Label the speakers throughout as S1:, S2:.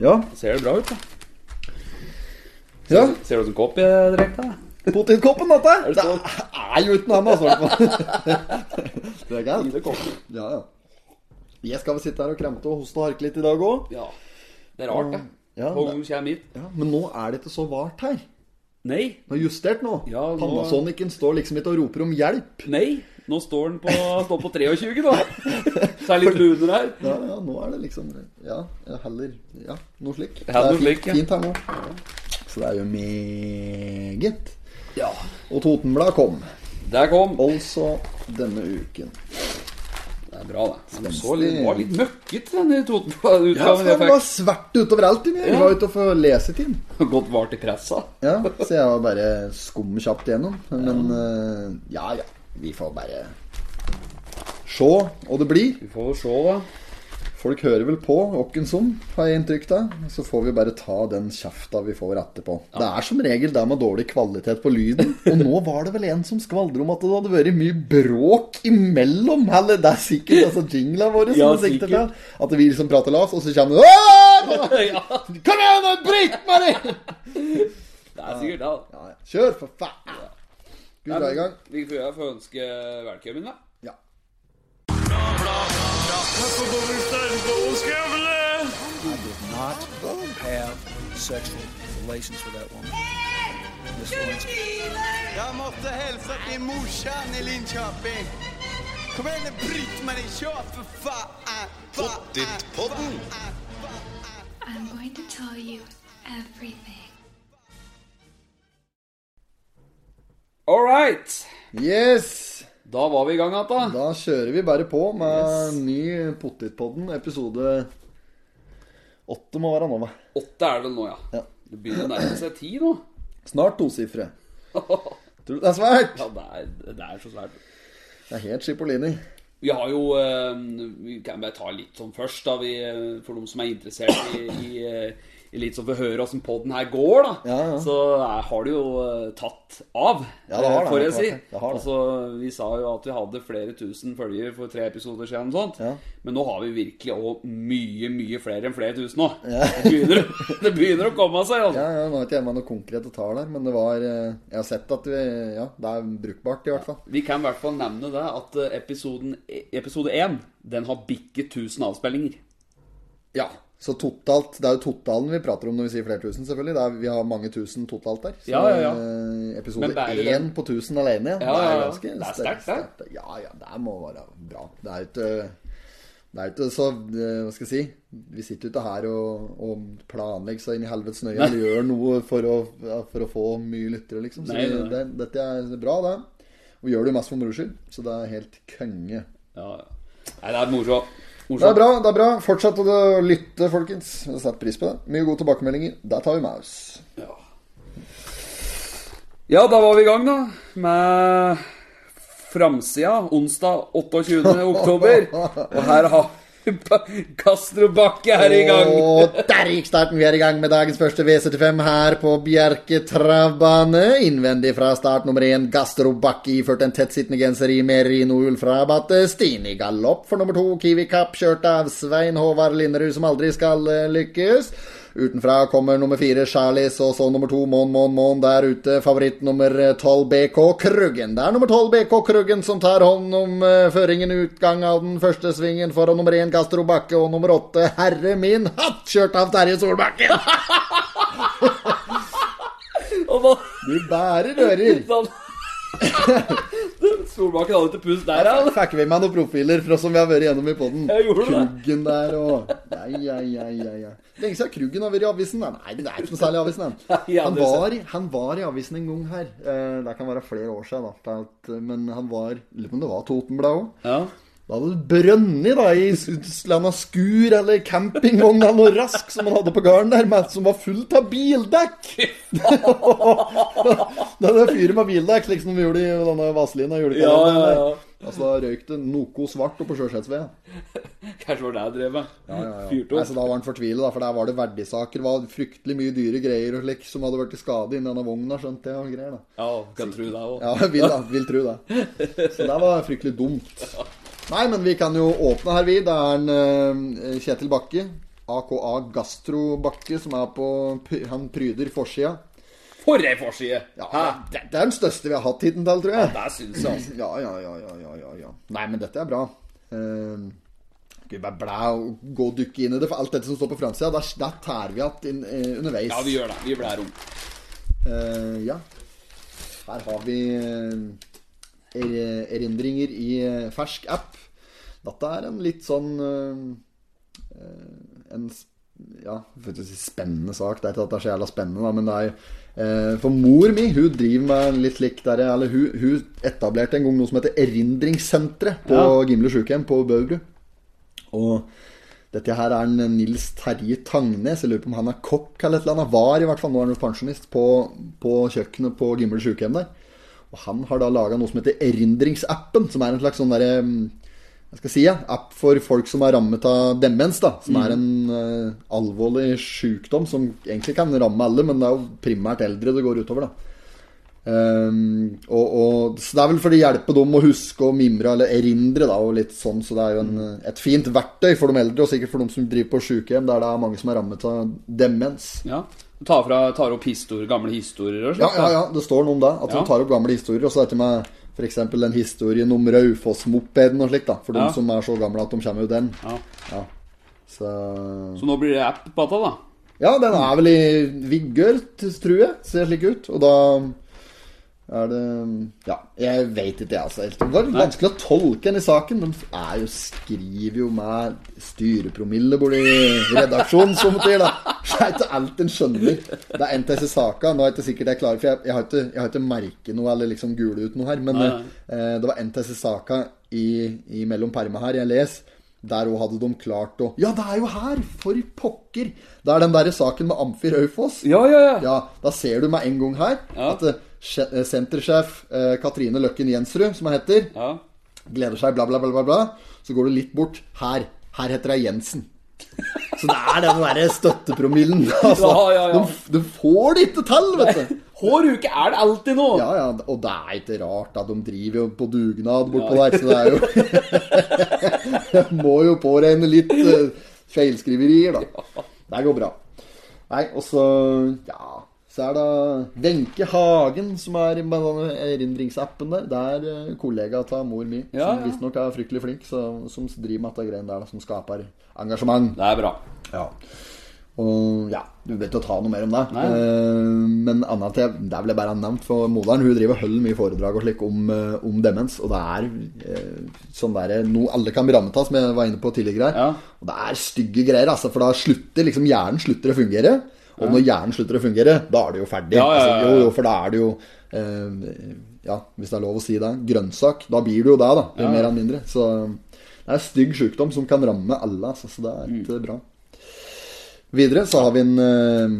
S1: Ja.
S2: Ser det bra ut, da?
S1: ja.
S2: Ser du ut som kopp jeg drekk, da?
S1: Potetkoppen, dette!
S2: Er det
S1: Det
S2: sånn?
S1: er jo uten henne, altså. Det er galt.
S2: Fine kopper.
S1: Ja, ja. Jeg skal vel sitte her og kremte og hoste og harke litt i dag òg.
S2: Ja. Det er rart, det.
S1: Ja,
S2: Hvor
S1: det-
S2: kommer hit?
S1: ja, men nå er det ikke så vart her.
S2: Nei.
S1: Den er justert nå.
S2: Ja, nå-
S1: Panasonicen står liksom ikke og roper om hjelp.
S2: Nei. Nå står den på, står på 23, da. Så er det litt luner her.
S1: Ja, ja, nå er det liksom Ja, ja, heller Ja, noe slik.
S2: Ja, noe
S1: det er
S2: slik, ja.
S1: fint, fint her nå. Så det er jo meget.
S2: Ja.
S1: Og Totenbladet kom
S2: Der kom.
S1: altså denne uken.
S2: Det er bra, det. Den så litt, den var litt møkkete, den Totenbladet-utgaven
S1: Ja, for det
S2: jeg
S1: Altså, var svart utover alt inni. Vi
S2: Ja.
S1: var ute og få lesetid.
S2: fikk. Godt vart i pressa.
S1: Ja, så jeg var bare skum kjapt igjennom. Men eh, ja ja, vi får bare se hva det blir.
S2: Vi får se, da.
S1: Folk hører vel på åkken som, har jeg inntrykk av. Så får vi bare ta den kjefta vi får etterpå. Det er som regel det med dårlig kvalitet på lyden. Og nå var det vel en som skvaldrer om at det hadde vært mye bråk imellom. Eller det er sikkert altså jingla våre som
S2: Ja,
S1: er siktet
S2: sikkert.
S1: til. At vi liksom prater lavt, og så kommer det «Åh!
S2: Ja.
S1: Kom igjen, nå, bryt meg ned!
S2: Det er sikkert det. da.
S1: Ja, ja. Kjør, for faen! Skal vi dra i gang?
S2: Vi får jeg får ønske velkommen, da.
S1: Ja.
S3: not have sexual relations with that woman. Miss Lewinsky.
S4: Jeg måtte hilse til morsan i Linköping. Kom igjen, bryt meg i kjøp, for faen! Pottitpodden!
S5: I'm going to tell you everything.
S2: All right.
S1: Yes!
S2: Da var vi i gang igjen, da.
S1: Da kjører vi bare på med ny Pottitpodden, episode åtte må være nå, hva?
S2: Åtte er det vel nå, ja.
S1: Ja.
S2: Det begynner å nærme seg ti nå.
S1: Snart tosifre. Tror du det er svært?
S2: Ja, det er, det er så svært.
S1: Det er helt Chipolini.
S2: Vi har jo eh, Vi kan bare ta litt sånn først, da, vi, eh, for de som er interessert i, i, eh, i litt sånn for å høre åssen poden her går, da.
S1: Ja, ja.
S2: Så eh, har det jo eh, tatt av,
S1: Ja, det har
S2: eh,
S1: det,
S2: får
S1: det
S2: jeg
S1: har
S2: si.
S1: det, det har det.
S2: Altså, vi sa jo at vi hadde flere tusen følgere for tre episoder siden og sånt.
S1: Ja.
S2: Men nå har vi virkelig òg mye, mye flere enn flere tusen nå. Det, begynner, det begynner å komme seg, altså.
S1: Ja, ja, nå har ikke jeg med noe konkrete tall her, men det var eh, Jeg har sett at vi Ja, det er brukbart, i hvert fall.
S2: Vi kan i hvert fall nevne det at eh, episoden, episode 1 den har bikket 1000 avspillinger.
S1: Ja. Så totalt Det er jo totalen vi prater om når vi sier flere tusen, selvfølgelig. Det er, vi har mange tusen totalt der. Så
S2: Ja, ja, ja.
S1: eh,
S2: Men
S1: episode
S2: bare det-
S1: én på tusen alene,
S2: Ja,
S1: det
S2: ja,
S1: er
S2: ja.
S1: ganske
S2: Det er
S1: sterkt,
S2: sterkt, det.
S1: sterkt. Ja, ja, det må være bra. Det er jo ikke det er ikke så eh, Hva skal jeg si? Vi sitter jo ikke her og, og planlegger så inn i helvetes nøye eller gjør noe for å, ja, for å få mye lyttere, liksom. Så
S2: Nei,
S1: vi,
S2: nei, nei.
S1: det, dette er bra, det. Og vi gjør det jo mest for moro skyld, så det er helt konge.
S2: Ja, ja. Nei, det er moro.
S1: Det er
S2: morsomt.
S1: bra. det er bra Fortsett å lytte, folkens. Vi setter pris på det. Mye gode tilbakemeldinger. Der tar vi med oss.
S2: Ja. ja, da var vi i gang, da. Med framsida onsdag 28. oktober. Og her har vi Ba- Castro Bakke er i gang.
S1: Og der gikk starten. Vi er i gang med dagens første V75 her på Bjerke travbane. Innvendig fra start nummer én, Gastro Bakki, iført en tettsittende genser i merinoull fra Battestin. I galopp for nummer to, Kiwi Kapp, kjørt av Svein Håvard Linderud, som aldri skal eh, lykkes. Utenfra kommer nummer fire Charlies, og så nummer to Mon Mon Mon der ute. Favoritt nummer eh, tolv BK Kruggen. Det er nummer tolv BK Kruggen som tar hånd om eh, føringen i utgang av den første svingen foran nummer én Castro Bakke og nummer åtte Herre min hatt, kjørt av Terje Solbakken.
S2: Og da,
S1: Du bærer ører.
S2: da Solbakken hadde ikke pust der, han.
S1: Fikk vi med noen profiler fra som vi har vært gjennom i poden?
S2: Jeg gjorde det.
S1: Kruggen der og Nei, ja, ja, ja, ja. Lenge siden Kruggen har vært i avisen. da. Nei, men det er ikke noe særlig i avisen. da.
S2: Nei, ja,
S1: Han
S2: det er
S1: var, han var i avisen en gang her. Eh, Det kan være flere år siden, da. for at- eh, Men han var Lurer på om det var Totenbladet òg.
S2: Ja.
S1: Da hadde det brønnet da, i Sudslanda skur eller campingvogn eller noe rask som han hadde på gården der, men som var fullt av bildekk. det er det fyret med bildekk, slik som vi gjorde i denne Vazelina
S2: Ja,
S1: julekalenderen.
S2: ja,
S1: der.
S2: ja.
S1: Altså, da røyk det noe svart oppå Sjøsetsved.
S2: Kanskje var det jeg drev med.
S1: Ja, ja, ja.
S2: Fyrte
S1: Nei,
S2: opp.
S1: så da var han fortvilet, da, for der var det verdisaker. Det var fryktelig mye dyre greier og slik som hadde vært til skade inni denne vogna, skjønte jeg. og greier da.
S2: Ja, kan tro det òg.
S1: Ja, vil, da, vil tro det. Så det var fryktelig dumt. Nei, men vi kan jo åpne her, vi. Det er en eh, Kjetil Bakke. AKA Gastrobakke, som er på py- Han pryder forsida.
S2: For ei forside!
S1: Ja,
S2: Hæ?
S1: det, det er den største vi har hatt hittil, tror jeg.
S2: Der syns jeg, altså.
S1: Ja, ja, ja, ja, ja, ja, ja. Nei, men dette er bra. Uh, skal vi bare blæ og gå og dukke inn i det, for alt dette som står på framsida, der, der tærer vi att inn, eh, underveis.
S2: Ja, vi gjør det. Vi blær om.
S1: Eh, ja. Her har vi eh, er, erindringer i eh, fersk app. Dette er en litt sånn eh, eh, En s- ja, jeg får ikke si spennende sak. Det er ikke at det er så jævla spennende, da, men det er eh, For mor mi hun driver med litt slik der Eller hun, hun etablerte en gang noe som heter Erindringssenteret på
S2: Ja.
S1: Gimle sjukehjem på Bøverud. Og dette her er en eh, Nils Terje Tangnes. Jeg lurer på om han er kokk eller et eller annet. Var i hvert fall, nå er han jo pensjonist, på, på kjøkkenet på Gimle sjukehjem der. Og han har da laga noe som heter Erindringsappen, som er en slags sånn derre hva skal jeg si, ja, app for folk som er rammet av demens, da. Som er en eh, alvorlig sykdom som egentlig kan ramme alle, men det er jo primært eldre det går utover, da. Ehm, og, og, så det er vel for å hjelpe dem å huske og mimre eller erindre, da, og litt sånn. Så det er jo en, et fint verktøy for de eldre, og sikkert for de som driver på sykehjem, der det er mange som er rammet av demens.
S2: Ja. Du tar, fra, tar opp histor, gamle historier og
S1: Ja,
S2: slikt?
S1: ja, ja, det står noe om det. At
S2: Ja.
S1: de tar opp gamle historier. Og så dette med f.eks. den historien om Raufoss-mopeden og slikt, da. For
S2: Ja.
S1: de som er så gamle at de kommer ut den.
S2: Ja.
S1: Ja. Så
S2: Så nå blir det app på dette, da?
S1: Ja, den er vel i vigør, t- tror jeg. Ser slik ut. Og da er det Ja, jeg veit ikke, jeg, altså. helt. Det var vanskelig å tolke den i saken. De er jo, skriver jo med styrepromille borti redaksjonen, som det heter. da. Så Det er ikke alt en skjønner. Det er NTS i saka. Nå er jeg ikke sikkert jeg klarer, for jeg, jeg har ikke, jeg har ikke merket noe eller liksom gule ut noe her. Men
S2: Nei, nei.
S1: eh, det var NTS i saka i, i mellom perma her jeg leser. Der òg hadde de klart å Ja, det er jo her! For pokker! Det er den derre saken med Amfi Raufoss.
S2: Ja, ja, ja.
S1: Ja, da ser du meg en gang her
S2: Ja.
S1: at eh, sje- eh, sentersjef eh, Katrine Løkken Jensrud, som hun heter,
S2: ja.
S1: gleder seg, bla, bla, bla, bla, bla. Så går du litt bort. Her. Her heter hun Jensen. Så det er den derre støttepromillen. Altså.
S2: Ja, ja, ja.
S1: Du, du får det ikke til, vet du.
S2: Hår uke er det alltid nå!
S1: Ja, ja, og det er ikke rart at de driver jo på dugnad bortpå der, så det er jo Jeg må jo påregne litt eh, feilskriverier, da. Det går bra. Nei, og så Ja. Så er det Wenche Hagen som er med denne erindringsappen der. Det er eh, kollega av mor mi,
S2: Ja,
S1: som
S2: ja.
S1: visstnok er fryktelig flink, så, som driver med dette greiene der, da, som skaper engasjement.
S2: Det er bra.
S1: Ja. Og ja, du vet jo ta noe mer om det.
S2: Nei.
S1: Eh, men annet til, det er vel bare nevnt for moderen. Hun driver og holder mye foredrag og slik om, eh, om demens. Og det er eh, sånn der, noe alle kan bli rammet av, som jeg var inne på tidligere. her.
S2: Ja.
S1: Og det er stygge greier, altså, for da slutter liksom hjernen slutter å fungere. Og når hjernen slutter å fungere, da er det jo ferdig.
S2: Ja, ja, ja, ja.
S1: Altså, jo, jo, for da er det jo eh, Ja, hvis det er lov å si det. Grønnsak. Da blir det jo det, da. Mer eller mindre. Så det er en stygg sykdom som kan ramme alle, altså, så det er
S2: Mm.
S1: ikke bra. Videre så har vi en eh,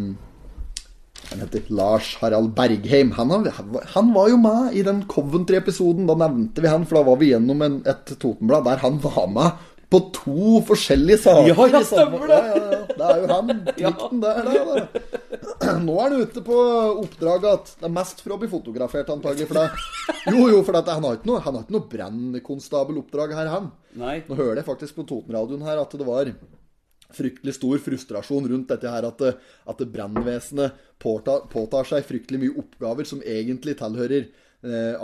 S1: Han heter Lars Harald Bergheim. Han, har, han var jo med i den Coventry-episoden. Da nevnte vi han, for da var vi gjennom en, et Totenblad der han var med på to forskjellige saker.
S2: Ja, ja,
S1: i samme-
S2: stemmer det.
S1: Ja, ja, ja. Det er jo han. Plikten der, der, da. Nå er han ute på oppdraget at det er mest for å bli fotografert, antagelig. For det. Jo, jo, for dette, han har ikke noe, han har ikke noe brannkonstabeloppdrag her, han.
S2: Nei.
S1: Nå hører jeg faktisk på Totenradioen her at det var fryktelig stor frustrasjon rundt dette her at, eh, at brannvesenet påtar, påtar seg fryktelig mye oppgaver som egentlig tilhører eh,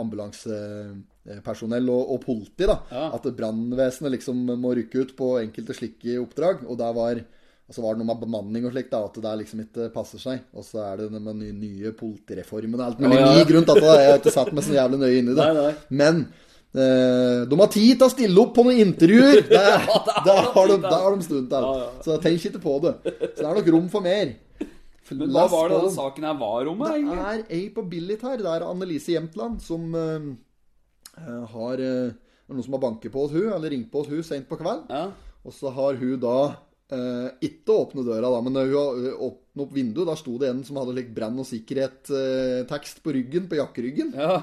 S1: ambulansepersonell og, og politi. da. At brannvesenet liksom må rykke ut på enkelte slike oppdrag. Og der var og så var det noe med bemanning og slikt, da, at det der liksom ikke passer seg. Og så er det det med nye, nye politireformen og alt mulig.
S2: Ja, ja.
S1: ny grunn til at jeg har ikke satt meg så jævlig nøye inn i det.
S2: Nei, nei.
S1: Men eh, de har tid til å stille opp på noen intervjuer! Det, det har de, det har de stund til.
S2: Ja, ja.
S1: Så tenk ikke på det. Så det er nok rom for mer.
S2: Men hva
S1: Lass
S2: var det
S1: på
S2: den
S1: dem.
S2: saken her var om, egentlig?
S1: Det er ei på Billit her. Det er Annelise Jämtland som eh, eh, har eh, det er noen som har banket på hos hun, eller ringt på hos hun sent på kveld.
S2: Ja.
S1: Og så har hun da eh, ikke åpne døra, da, men hun har eh, åpnet opp vinduet. Der sto det en som hadde litt brann og sikkerhet-tekst på ryggen, på jakkeryggen.
S2: Ja.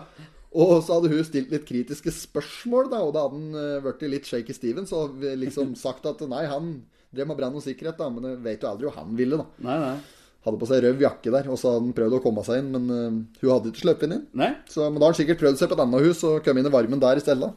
S1: Og så hadde hun stilt litt kritiske spørsmål, da, og da hadde han eh, vært i litt shaky Stevens og liksom sagt at nei, han drev med brann og sikkerhet, da, men jeg vet jo aldri hva han ville, da.
S2: Nei, nei.
S1: Hadde på seg røv jakke der, og så hadde han prøvd å komme seg inn, men eh, hun hadde ikke sluppet inn.
S2: Nei?
S1: Så, men da har han sikkert prøvd seg på et annet hus og kommet inn i varmen der i stedet.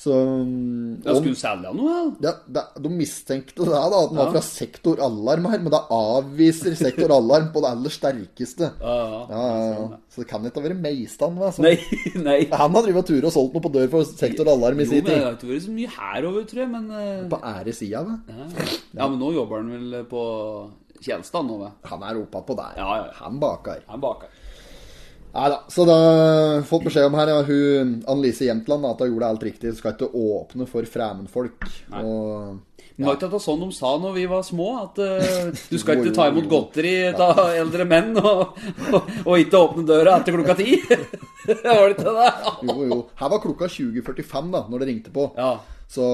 S1: Så mm,
S2: Jeg
S1: og-
S2: skulle selge noe, da.
S1: ja, da, De mistenkte da, da at den var fra Sektor Alarm her, men da avviser Sektor Alarm på det aller sterkeste. Ja,
S2: Ja, ja.
S1: ja, ja. Så det kan ikke ha vært Meistan, hva? Som,
S2: Nei, nei.
S1: Han har drevet tur og solgt noe på dør for Sektor Alarm i
S2: Jo,
S1: sin
S2: men det
S1: tid.
S2: har ikke vært så mye herover, tror jeg, men eh,
S1: På æresida, hva?
S2: Ja, men nå jobber han vel på Tjenestad nå, vel.
S1: Han er oppapå der.
S2: Ja, ja, ja.
S1: Han bakar.
S2: Han baker.
S1: Nei da. Så da fått beskjed om her, ja, hun Annelise Jämtland, at hun gjorde alt riktig. Skal ikke åpne for fremmedfolk. Og
S2: Men var ikke det sånn de sa når vi var små, at eh, du skal ikke ta imot godteri av eldre menn og, og, og ikke åpne døra etter klokka ti? var det ikke det?
S1: jo, jo. Her var klokka 20.45 da, når det ringte på.
S2: Ja.
S1: Så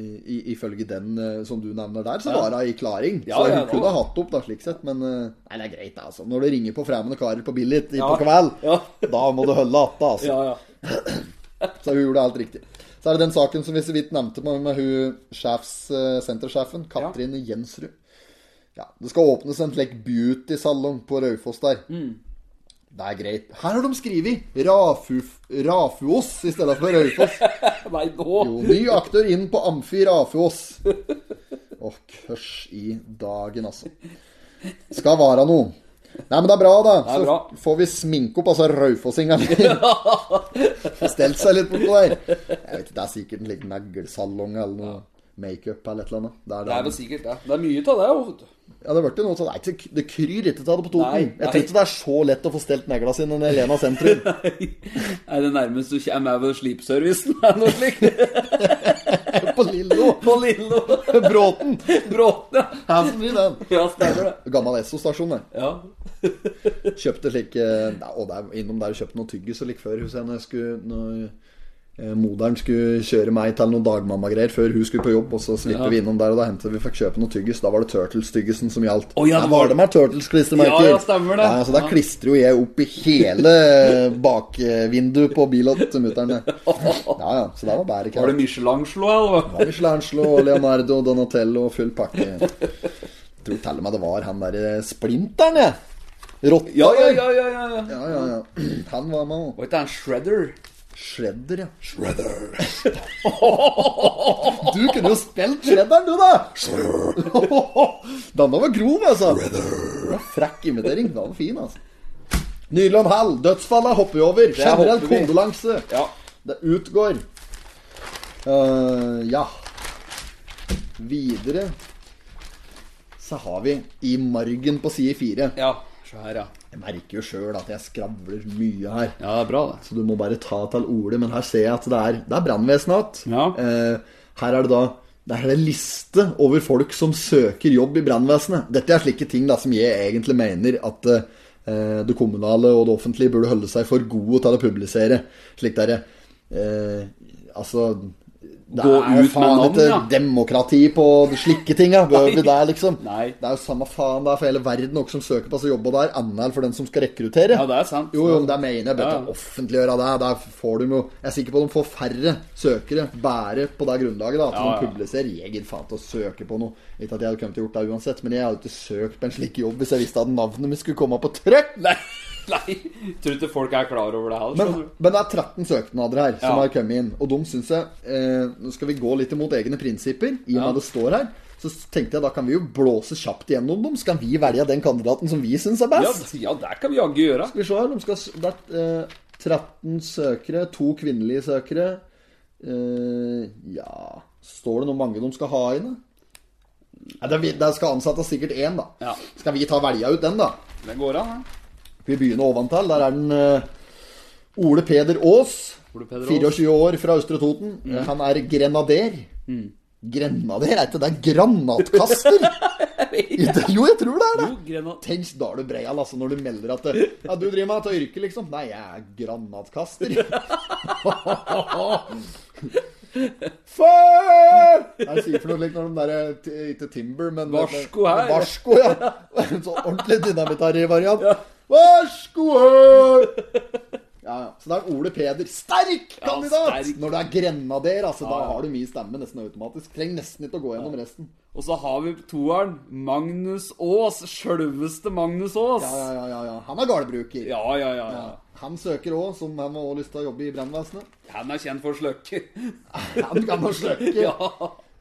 S1: i, ifølge den eh, som du nevner der, så var hun i klaring.
S2: Ja,
S1: så hun
S2: ja, da.
S1: kunne ha hatt opp, da, slik sett. Men eh, nei, det er greit, altså. Når det ringer på fremmede karer på Billit i
S2: Ja.
S1: på kveld,
S2: Ja.
S1: da må du holde atta, altså.
S2: Ja, ja.
S1: Så hun gjorde alt riktig. Så er det den saken som vi så vidt nevnte med, med hun sjefs, eh, sentersjefen, Katrine Jensrud. Ja, det skal åpnes en slik beauty-salong på Raufoss der. Det er greit. Her har de skrevet Rafu, Rafuos i stedet for Raufoss.
S2: Nei, nå
S1: Jo, ny aktør inn på Amfi Rafuos. Åh, kørs i dagen, altså. Skal være noe. Nei, men det er bra, da. Så
S2: er bra.
S1: får vi sminke opp altså raufossingene litt. Får stelt seg litt bortpå der. Jeg vet ikke, Det er sikkert en liten neglesalong eller noe. Makeup eller et eller annet. Det er
S2: Det er vel
S1: det.
S2: sikkert det. Det er mye av det jo, vet du.
S1: Ja, det ble jo noe sånn Nei, det- det kryr ikke av det på
S2: Nei,
S1: Toten. Jeg
S2: nei.
S1: tror ikke det er så lett å få stelt negla sine enn Helena sentrum.
S2: Er det nærmest du kommer er vel slipservicen? Er det noe slikt?
S1: På Lillo.
S2: På Lillo
S1: Bråten.
S2: Bråten, ja.
S1: Han som driver den.
S2: Ja, stemmer det.
S1: Gammel Esso-stasjon, det.
S2: Ja.
S1: Kjøpte slik eh, nei, Og der, innom der kjøpte noe tyggis og lik før husker jeg, når, jeg skulle, når eh, moderen skulle kjøre meg til noen dagmammagreier før hun skulle på jobb. Og så slipper vi innom der, og da hentet vi fikk kjøpe noe tyggis. Da var det Turtles-tyggisen som gjaldt.
S2: Å, ja,
S1: Der
S2: det
S1: var
S2: var-
S1: det med Turtles-klistremerker.
S2: Ja, ja, stemmer det.
S1: Ja, så der
S2: Ja.
S1: klistrer jo jeg opp i hele bakvinduet på bilen til mutter'n. Ja, ja. Så der var bæret.
S2: Var det Michelangelo, eller?
S1: Ja, Michelangelo, Leonardo, Donatello, full pakke. Jeg tror til og med det var han der eh, splinteren, jeg. Rotta.
S2: Ja, ja, ja, ja, ja. ja.
S1: Ja, ja, ja. Han var med òg.
S2: Var ikke det en shredder?
S1: Shredder, ja. Shredder. du kunne jo spilt Shredderen, du, da! Denne var grov, altså. Det var frekk imitering. Den var fin, altså. Nylon Hall, dødsfallet hopper vi over. Generell
S2: hopper vi.
S1: kondolanse.
S2: Ja.
S1: Det utgår. Eh, ja. Videre så har vi i margen på side fire.
S2: Ja. Se her, ja.
S1: Jeg merker jo sjøl at jeg skravler mye her.
S2: Ja, det er bra, det.
S1: Så du må bare ta til ordet, men her ser jeg at det er, det er brannvesenet igjen.
S2: Ja.
S1: Eh, her er det da det er en liste over folk som søker jobb i brannvesenet. Dette er slike ting da, som jeg egentlig mener at eh, det kommunale og det offentlige burde holde seg for gode til å publisere. Slik der, eh, altså det
S2: Gå
S1: er jo
S2: ut med
S1: faen
S2: navn,
S1: ikke
S2: ja.
S1: demokrati på de slike tinga. Bør vi der, liksom?
S2: Nei.
S1: Det er jo samme faen det er for hele verden noen som søker på å jobbe der, annet enn for den som skal rekruttere.
S2: Ja, det er sant.
S1: Jo, jo, men det er meningen. Jeg bør
S2: Ja.
S1: ikke offentliggjøre det. Der får de jo Jeg er sikker på at de får færre søkere bare på det grunnlaget. da At
S2: Ja, ja.
S1: de publiserer. Jeg gidder faen til å søke på noe. Ikke at jeg hadde kommet til å gjort det uansett, men jeg hadde ikke søkt på en slik jobb hvis jeg visste at navnet mitt skulle komme på trykk.
S2: Nei, nei. Tror ikke folk er klar over det her.
S1: Men,
S2: skjønner du.
S1: men det er 13 søknader her som
S2: Ja.
S1: har kommet inn, og de syns jeg eh, Nå skal vi gå litt imot egne prinsipper, i og med
S2: Ja.
S1: det står her. Så tenkte jeg da kan vi jo blåse kjapt gjennom dem. Så kan vi velge den kandidaten som vi syns er
S2: ja,
S1: best.
S2: d- ja, det kan vi jaggu gjøre.
S1: Skal vi se her, de skal, s- det er eh, 13 søkere, to kvinnelige søkere. Eh, ja Står det noe mange de skal ha inn? da? Nei, det, er vi- det skal ansettes sikkert én, da.
S2: Ja.
S1: Skal vi ta velja ut den, da?
S2: Det går an, det.
S1: Vi begynner oventil. Der er den eh, Ole Peder Aas.
S2: Ole Peder Aas. Mm.
S1: 24 år fra Østre Toten. Eh, Han er grenader. Grenader? Er ikke det granatkaster? jo, jeg tror det er det.
S2: Jo, grenat...
S1: Tenk da er du breial altså, når du melder at det- ja, du driver med dette yrket, liksom. Nei, jeg er granatkaster. Far! Jeg sier for noe slikt når de der eh, t- Ikke Timber, men
S2: Varsko her.
S1: Varsko, ja. En sånn ordentlig dynamittarrig variant. Varsko her! Ja, Ja, ja. Så da er Ole Peder sterk kandidat!
S2: sterk.
S1: Når du er grenader, altså, da har du mye stemme nesten automatisk. Trenger nesten ikke å gå gjennom resten.
S2: Og så har vi toeren. Magnus Aas. Sjølveste Magnus Aas.
S1: Ja, ja, ja, ja. Han er gardbruker.
S2: Ja, ja, ja. ja.
S1: Han søker òg, som han har også lyst til å jobbe i brannvesenet.
S2: Han er kjent for sløkker.
S1: Han kan da sløkke.
S2: ja.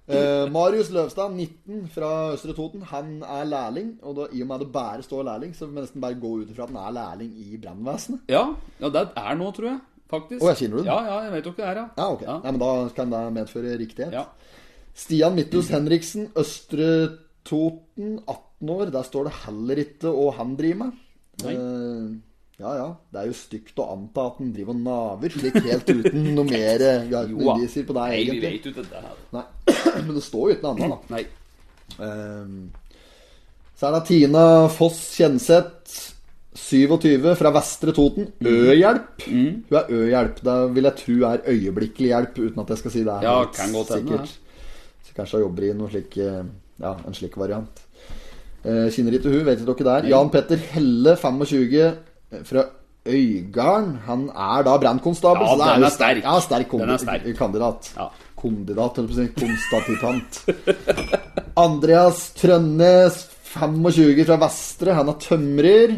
S1: Eh, Marius Løvstad, 19, fra Østre Toten. Han er lærling. Og da, i og med at det bare står lærling, så må jeg nesten bare gå ut ifra at han er lærling i brannvesenet.
S2: ja. ja, det er nå, tror jeg. Faktisk.
S1: Å, jeg kjenner du den?
S2: Ja, ja, jeg vet jo ikke det er, ja.
S1: Ja, ok. Ja. men da kan det medføre riktighet.
S2: Ja.
S1: Stian Midthus Henriksen, Østre Toten, 18 år. Der står det heller ikke hva han driver med.
S2: Nei.
S1: Eh, ja, ja. Det er jo stygt å anta at han driver og naver slik helt uten noe mer eh, Vi har ikke noen
S2: da.
S1: indisier på deg,
S2: Nei, vi
S1: egentlig.
S2: vet jo ikke det her.
S1: Nei. Men det står jo ikke noe annet, da.
S2: Nei.
S1: Ehm, Så er det Tina Foss Kjenseth, 27, fra Vestre Toten.
S2: Mm.
S1: Ø-hjelp. Hun er Ø-hjelp. Det vil jeg tro er øyeblikkelig hjelp, uten at jeg skal si det. er
S2: Ja,
S1: helt
S2: kan godt hende,
S1: sikkert. Så kanskje hun jobber i noe slik, eh, ja, en slik variant. Eh, Kjenner ikke hun, vet ikke dere
S2: Mm.
S1: der. Jan Petter Helle, 25, eh, fra Øygarden. Han er da brannkonstabel.
S2: Ja,
S1: så det
S2: den
S1: jo
S2: er sterk.
S1: Ja, sterk,
S2: Den er sterk.
S1: kandidat.
S2: Ja.
S1: Kondidat, holdt jeg på å si. Konstatitant. Andreas Trønnes, 25 fra Vestre. Han er tømrer.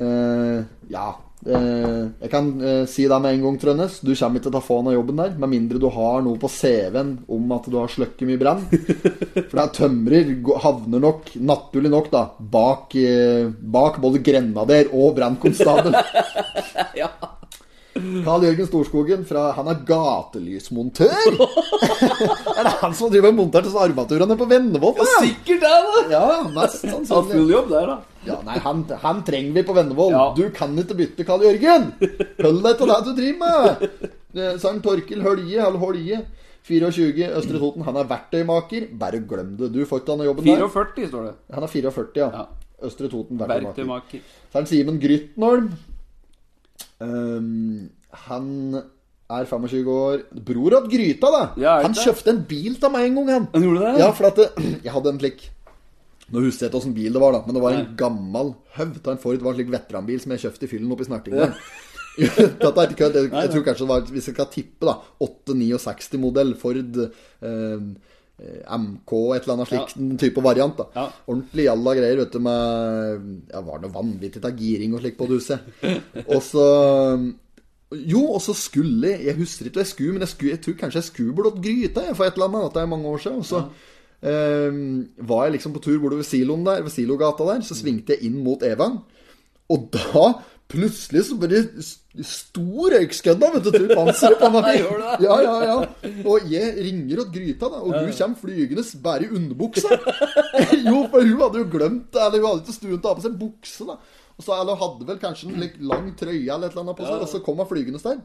S1: Eh, ja. eh, jeg kan eh, si deg med en gang, Trønnes, du kommer ikke til å ta faen av jobben der. Med mindre du har noe på CV-en om at du har sløkket mye brann. For det er tømrer gå- havner nok, naturlig nok, da bak, eh, bak både grenader og brannkonstabel.
S2: Ja.
S1: Karl Jørgen Storskogen fra Han er gatelysmontør! er det han som driver og monterer disse armaturene på Vennevoll? da?
S2: Sikkert det, da.
S1: Ja, mest
S2: Han har full
S1: sannsynlig.
S2: jobb der, da.
S1: Ja, nei, han, han trenger vi på Vennevoll.
S2: Ja.
S1: Du kan ikke bytte Karl Jørgen! Hold deg til det du driver med! Eh, Sankt Torkil Hølje, eller Holje, 24, Østre Toten. Han er verktøymaker. Bare glem det. Du får ikke han jobben der.
S2: 44 står det.
S1: Han er 44, ja.
S2: Ja.
S1: Østre Toten verktøymaker.
S2: Verktøymaker.
S1: Så er det Simen Grytnholm. Ehm, han er 25 år. Bror av Gryta, da!
S2: Ja, er det
S1: han
S2: det?
S1: kjøpte en bil av meg en gang, han.
S2: Han gjorde det?
S1: Ja, for at det, jeg hadde en slik Nå husker jeg ikke åssen bil det var, da, men det var en
S2: Nei.
S1: gammel Haug av en Ford. Det var en slik veteranbil som jeg kjøpte i fyllen oppe i Snertingdal. Dette er ikke kødd. Jeg, jeg tror kanskje det var, hvis jeg skal tippe, da 869-modell Ford eh, MK, et eller annet slikt en type variant. da
S2: Ja.
S1: Ordentlig jalla greier, vet du, med ja, Var det noe vanvittig av giring og slik på det huset? Og så jo, og så skulle jeg Jeg husker ikke hva jeg skulle, men jeg, skulle, jeg tror kanskje jeg skulle blått gryte jeg, for et eller annet. At det er mange år siden. Og så eh, var jeg liksom på tur bortover siloen der, ved Silogata der. Så svingte jeg inn mot Evang. Og da plutselig så bare s- sto røykskødda, vet du, til panseret på meg.
S2: Gjorde
S1: Ja, ja, ja. Og jeg ringer åt gryta, da, og hun kommer flygende bare i underbuksa. Jo, for hun hadde jo glemt Eller hun hadde ikke stuen til å ha på seg bukse, da. Og så, eller hadde vel kanskje en litt lang trøye eller et eller annet på seg, og så kom hun flygende der.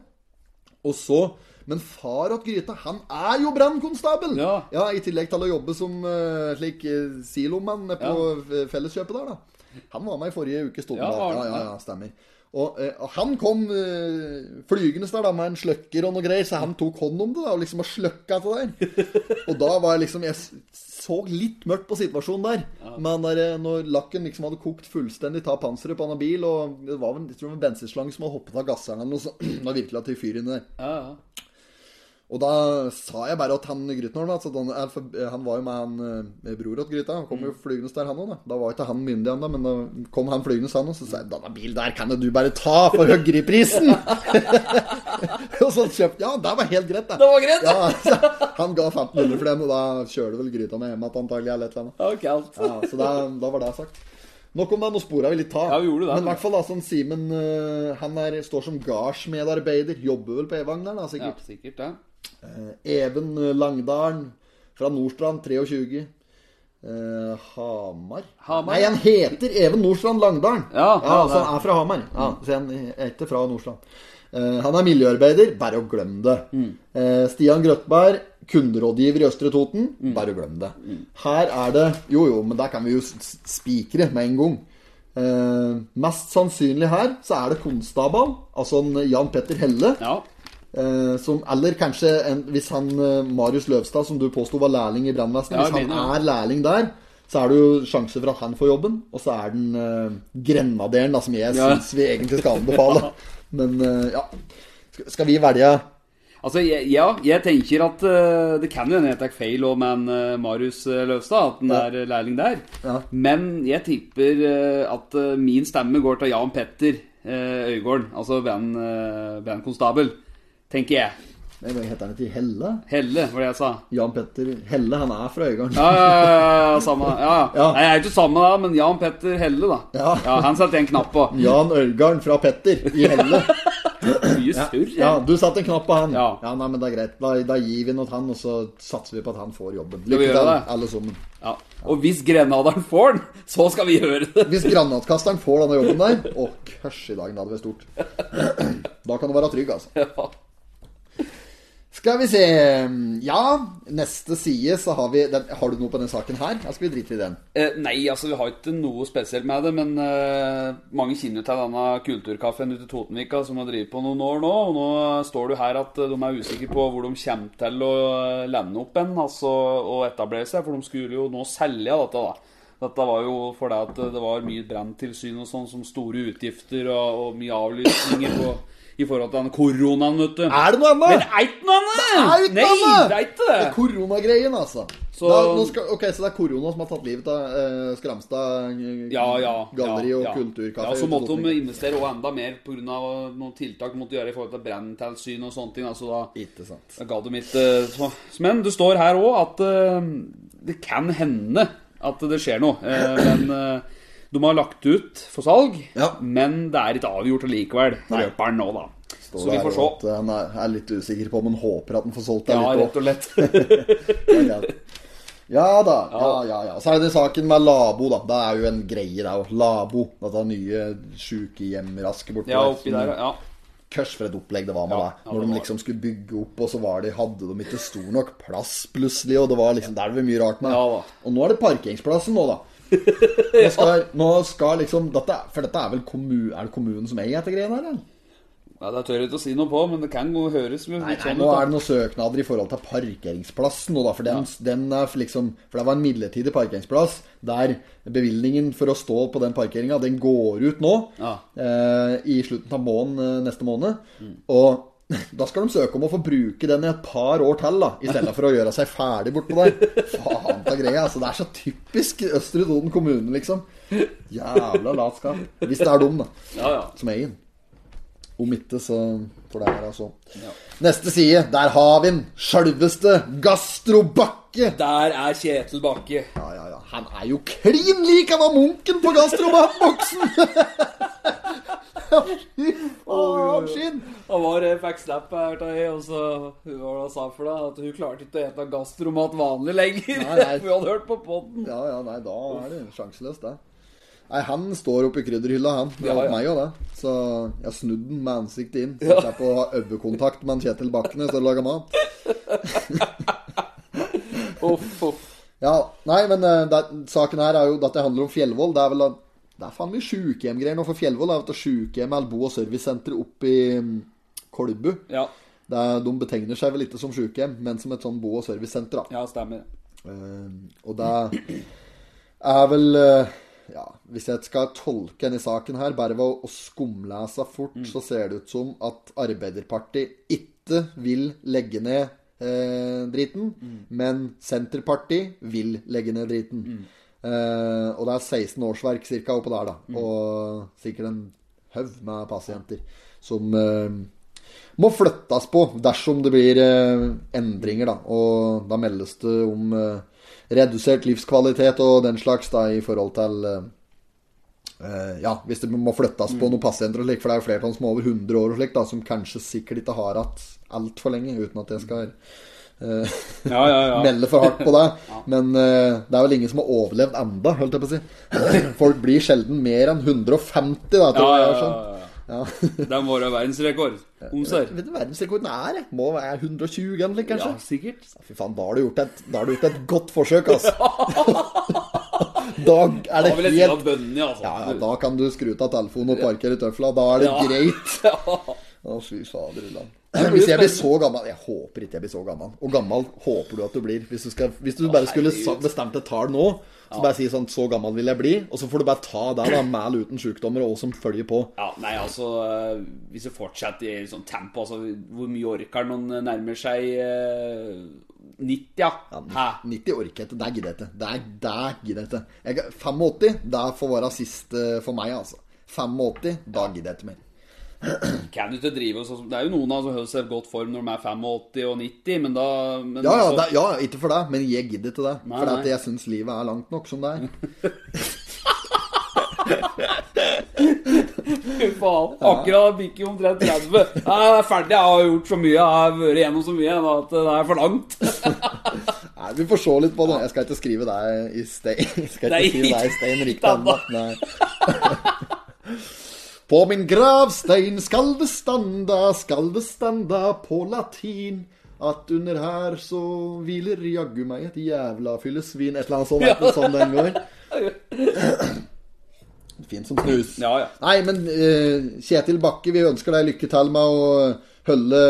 S1: Og så Men far åt gryta, han er jo brannkonstabel!
S2: Ja.
S1: I tillegg til å jobbe som eh, slik eh, silomann på eh, Felleskjøpet der, da. Han var med i forrige uke, sto det
S2: Ja,
S1: da.
S2: var han
S1: ja, ja,
S2: det?
S1: ja, stemmer. Og, eh, og han kom eh, flygende der da, med en sløkker og noe greier, så han tok hånd om det da, og liksom har sløkka til der. Og da var jeg liksom Jeg s- så litt mørkt på situasjonen der. Men når, eh, når lakken liksom hadde kokt fullstendig av panseret på en bil, og det var vel jeg tror det var en bensinslange som hadde hoppet av gasseren eller noe sånt, da virkelig at det fyr inni der.
S2: Ja, ja.
S1: Og da sa jeg bare at han Grytnholm altså, at han, er for- han var jo med han eh, bror til Gryta. Han kom
S2: Mm.
S1: jo flygende der, han òg. Da Da var ikke han myndig ennå, men da kom han flygende, han òg. Så sa jeg 'Denne bilen der kan jo du bare ta for høyreprisen'! og så kjøpte Ja, det var helt greit, det.
S2: Det var greit, det.
S1: Ja, så han ga 1500 for den, og da kjører vel Gryta med hjem igjen antagelig, eller et eller annet.
S2: Det var kaldt.
S1: Ja, så da, da var det sagt. Nok om det, nå spora vi litt ta.
S2: Ja, vi gjorde det.
S1: Men i hvert fall da, sånn Simen eh, Han er, står som gardsmedarbeider. Jobber vel på Evang der, da,
S2: Ja,
S1: sikkert.
S2: sikkert det.
S1: Eh, Even Langdalen fra Nordstrand, 23. Eh, Hamar
S2: Hamar,
S1: Nei,
S2: ja.
S1: han heter Even Nordstrand Langdalen.
S2: Ja,
S1: ja,
S2: ja,
S1: så han er fra Hamar. Ja,
S2: Mm.
S1: så han er ikke fra Nordstrand. Eh, han er miljøarbeider. Bare å glemme det.
S2: Mm.
S1: Eh, Stian Grøtberg, kunderådgiver i Østre Toten.
S2: Mm.
S1: Bare å glemme det. Her er det Jo, jo, men der kan vi jo s- s- spikre med en gang. Eh, mest sannsynlig her så er det konstabel, altså en Jan Petter Helle.
S2: Ja.
S1: Eh, som, eller kanskje en, hvis han eh, Marius Løvstad, som du påsto var lærling i brannvesenet
S2: Ja,
S1: Hvis han
S2: jeg mener
S1: er lærling der, så er det jo sjanse for at han får jobben. Og så er den eh, grenaderen, da, som jeg
S2: Ja.
S1: synes syns vi egentlig skal anbefale. Men eh, ja. Skal- Skal vi velge
S2: Altså, jeg, ja, jeg tenker at eh, det kan jo hende jeg tar feil òg med en, eh, Marius eh, Løvstad, at han
S1: Ja.
S2: er eh, lærling der.
S1: Ja.
S2: Men jeg tipper eh, at eh, min stemme går til Jan Petter eh, Øygården, altså band, eh, bandkonstabel, tenker jeg.
S1: Nei, Hva heter han til Helle?
S2: Helle, var det jeg sa.
S1: Jan Petter Helle, han er fra Øygarden.
S2: Ja, ja, ja, ja, samme. Ja.
S1: Ja.
S2: Nei, jeg er ikke samme, da, men Jan Petter Helle, da.
S1: Ja.
S2: Han setter jeg en knapp på.
S1: Jan Øygarden fra Petter i Helle.
S2: Mye surr. jeg.
S1: Ja, du satte en knapp på han.
S2: Ja.
S1: nei, men det er greit. Da, da gir vi den til han, og så satser vi på at han får jobben.
S2: vi
S1: Lykke
S2: gjøre
S1: til,
S2: det?
S1: alle sammen.
S2: Ja. Og hvis grenaderen får den, så skal vi gjøre det.
S1: Hvis granatkasteren får denne jobben der Å, kørs i dag, da hadde vært stort. Da kan du være trygg, altså.
S2: Ja.
S1: Skal vi se Ja, neste side så har vi den, Har du noe på den saken her? Ja, skal vi drite i den?
S2: Eh, nei, altså vi har ikke noe spesielt med det, men eh, mange kjenner til denne kulturkaffen ute i Totenvika som har drevet på noen år nå. Og nå står det jo her at eh, de er usikre på hvor de kommer til å eh, lande opp en, altså å etablere seg, for de skulle jo nå selge dette, da. Dette var jo fordi at eh, det var mye branntilsyn og sånn, som store utgifter og, og mye avlysninger på, i forhold til den koronaen, vet du.
S1: Er det noe
S2: Men
S1: annet?
S2: det er ikke noe annet!
S1: er ikke noe
S2: Nei,
S1: annet!
S2: det er ikke det!
S1: Koronagreien, altså.
S2: Så-
S1: Da, nå skal, ok, Så det er korona som har tatt livet av eh, Skramstad eh,
S2: Ja, ja.
S1: galleri
S2: ja,
S1: og
S2: ja.
S1: kulturkafé?
S2: Ja, så
S1: ute på
S2: måtte de
S1: Totningen.
S2: investere også enda mer pga. noen tiltak de måtte gjøre i forhold til branntilsyn og sånne ting. Altså da,
S1: Ikke sant.
S2: da ga de ikke eh, så- Men det står her òg at eh, det kan hende at det skjer noe. Eh, Men eh, de har lagt ut for salg,
S1: Ja.
S2: men det er ikke avgjort likevel. Løper den nå, da.
S1: Står
S2: Så vi
S1: der og
S2: får se.
S1: At han er, er litt usikker på, men håper at han får solgt det
S2: Ja,
S1: litt
S2: rett
S1: også.
S2: og lett.
S1: Ja, Ja da. Ja, ja, ja. Så er det saken med Labo, da. Det er jo en greie, det òg. Labo. Dette nye sjukehjemrasket borti
S2: Ja, oppi der, ja.
S1: Kørs for et opplegg det var med
S2: Ja,
S1: det.
S2: ja,
S1: Når
S2: det
S1: de
S2: var
S1: liksom skulle bygge opp, og så var de, hadde de ikke stor nok plass plutselig, og det var liksom Der er det mye rart med.
S2: Ja, da.
S1: og nå er det parkeringsplassen nå, da. Nå skal, nå skal liksom dette, For dette er vel kommu, er det kommunen som eier dette greiene her, eller?
S2: ja. Det tør jeg ikke å si noe på, men det kan jo høres litt
S1: Nei, nei,
S2: sånn
S1: nå
S2: ut.
S1: er det
S2: da.
S1: noen søknader i forhold til parkeringsplassen nå, da. For, den, den er liksom, for det var en midlertidig parkeringsplass der bevilgningen for å stå på den parkeringa, den går ut nå.
S2: Ja. Mm.
S1: Eh, I slutten av måneden eh, neste måned. Og da skal de søke om å få bruke den i et par år til, da. I stedet for å gjøre seg ferdig bortpå der. Faen ta greia. Altså, det er så typisk Østre Toten kommune, liksom. Jævla latskap. Hvis det er dum, da
S2: Ja, ja.
S1: som egen. Om ikke, så får det være sånn.
S2: Ja.
S1: Neste side, der har vi den. Sjølveste Gastrobakke.
S2: Der er Kjetil Bakke.
S1: Ja, ja, ja. Han er jo klin lik han var munken på gastrobakboksen! Fy faen, skinn!
S2: Han var eh, fikk snap her av ei, og så hun var da sa for deg at hun klarte ikke å ete gastromat vanlig lenger.
S1: Nei, nei.
S2: For hun hadde hørt på podden.
S1: Ja, ja, nei, da er det sjanseløst, det. Nei, han står oppi krydderhylla, han. Det
S2: Ja,
S1: var
S2: ja.
S1: meg òg, det. Så jeg har snudd den med ansiktet inn. Så jeg slipper å ha øyekontakt med han Kjetil Bakken når jeg står og lager mat.
S2: Uff, uff.
S1: Ja, nei, men eh, det, saken her er jo at det handler om Fjellvoll. Det er vel at- Det er faen mye sjukehjemgreier nå for Fjellvoll. Det er vet du, sjukehjem eller bo- og servicesenter oppe i mm, Kolbu.
S2: Ja,
S1: Det er, de betegner seg vel ikke som sjukehjem, men som et sånn bo- og servicesenter. da.
S2: ja, stemmer.
S1: Eh, og det er vel eh, Ja, hvis jeg skal tolke denne saken her, bare ved å, å skumlese fort, så ser det ut som at Arbeiderpartiet ikke vil legge ned eh, driten, men Senterpartiet vil legge ned driten. Eh, og det er 16 årsverk cirka oppå der, da. Og sikkert en haug med pasienter som eh, må flyttes på dersom det blir eh, endringer, da. Og da meldes det om eh, redusert livskvalitet og den slags, da, i forhold til eh, eh, Ja, hvis det må flyttes
S2: Mm.
S1: på noen pasienter og slik, for det er jo flertall som er over 100 år og slik, da, som kanskje sikkert ikke har hatt altfor lenge, uten at jeg skal eh,
S2: Ja, ja, ja.
S1: melde for hardt på det. Men eh, det er vel ingen som har overlevd enda, holdt jeg på å si. Folk blir sjelden mer enn 150, da,
S2: Ja,
S1: tror jeg jeg
S2: ja,
S1: har skjønt.
S2: ja, ja.
S1: Ja.
S2: Den var jo verdensrekord. Omser.
S1: Vet du hva verdensrekorden er? jeg? Må være 120 eller noe,
S2: Ja,
S1: kanskje?
S2: sikkert.
S1: Fy faen, da har du gjort et, da har du gjort et godt forsøk, altså. da er
S2: Da
S1: det
S2: vil jeg si
S1: helt
S2: av bøndene, altså.
S1: ja, ja, Da kan du skru av telefonen og parkere tøfla. Da er det
S2: Ja.
S1: greit.
S2: Ja.
S1: Å, fy fader. Ulla.
S2: blir
S1: Hvis jeg
S2: spennende.
S1: blir så gammel Jeg håper ikke jeg blir så gammel. Og gammel håper du at du blir. Hvis du, skal, hvis du bare skulle sa-
S2: herregud.
S1: bestemt et tall nå, så bare si sånn Så gammel vil jeg bli. Og så får du bare ta det, da. Med eller uten sykdommer og hva som følger på.
S2: Ja, nei, altså eh, Hvis det fortsetter i sånn tempo altså, Hvor mye orker noen nærmer seg eh, 90, ja? Hæ?
S1: 90 orker jeg ikke. Det gidder jeg ikke. Det er- det gidder jeg ikke. Jeg, 85, det får være sist eh, for meg, altså. 85, da gidder jeg ikke mer.
S2: Kan du ikke drive og sånn Det er jo noen av oss som holder seg i godt form når de er 85 og 90, men da men
S1: Ja, ja,
S2: altså,
S1: det, ja, ikke for deg, men jeg gidder ikke det.
S2: Nei,
S1: for
S2: nei.
S1: at jeg syns livet er langt nok som det er.
S2: Fy faen. Akkurat bikker jo omtrent 30. Jeg er ferdig, jeg har gjort så mye, jeg har vært gjennom så mye da, at det er for langt.
S1: Nei, Vi får se litt på det. Jeg skal ikke skrive deg i stein. Jeg skal
S2: Nei,
S1: ikke skrive deg i stein
S2: ikke
S1: riktig ennå. Nei. På min gravstein skal det standa, skal det standa på latin. At under her så hviler jaggu meg et jævla fyllesvin. Et eller annet sånt. vet du, sånn den går. Fint som snus.
S2: Ja, ja.
S1: Nei, men eh, Kjetil Bakke, vi ønsker deg lykke til med å holde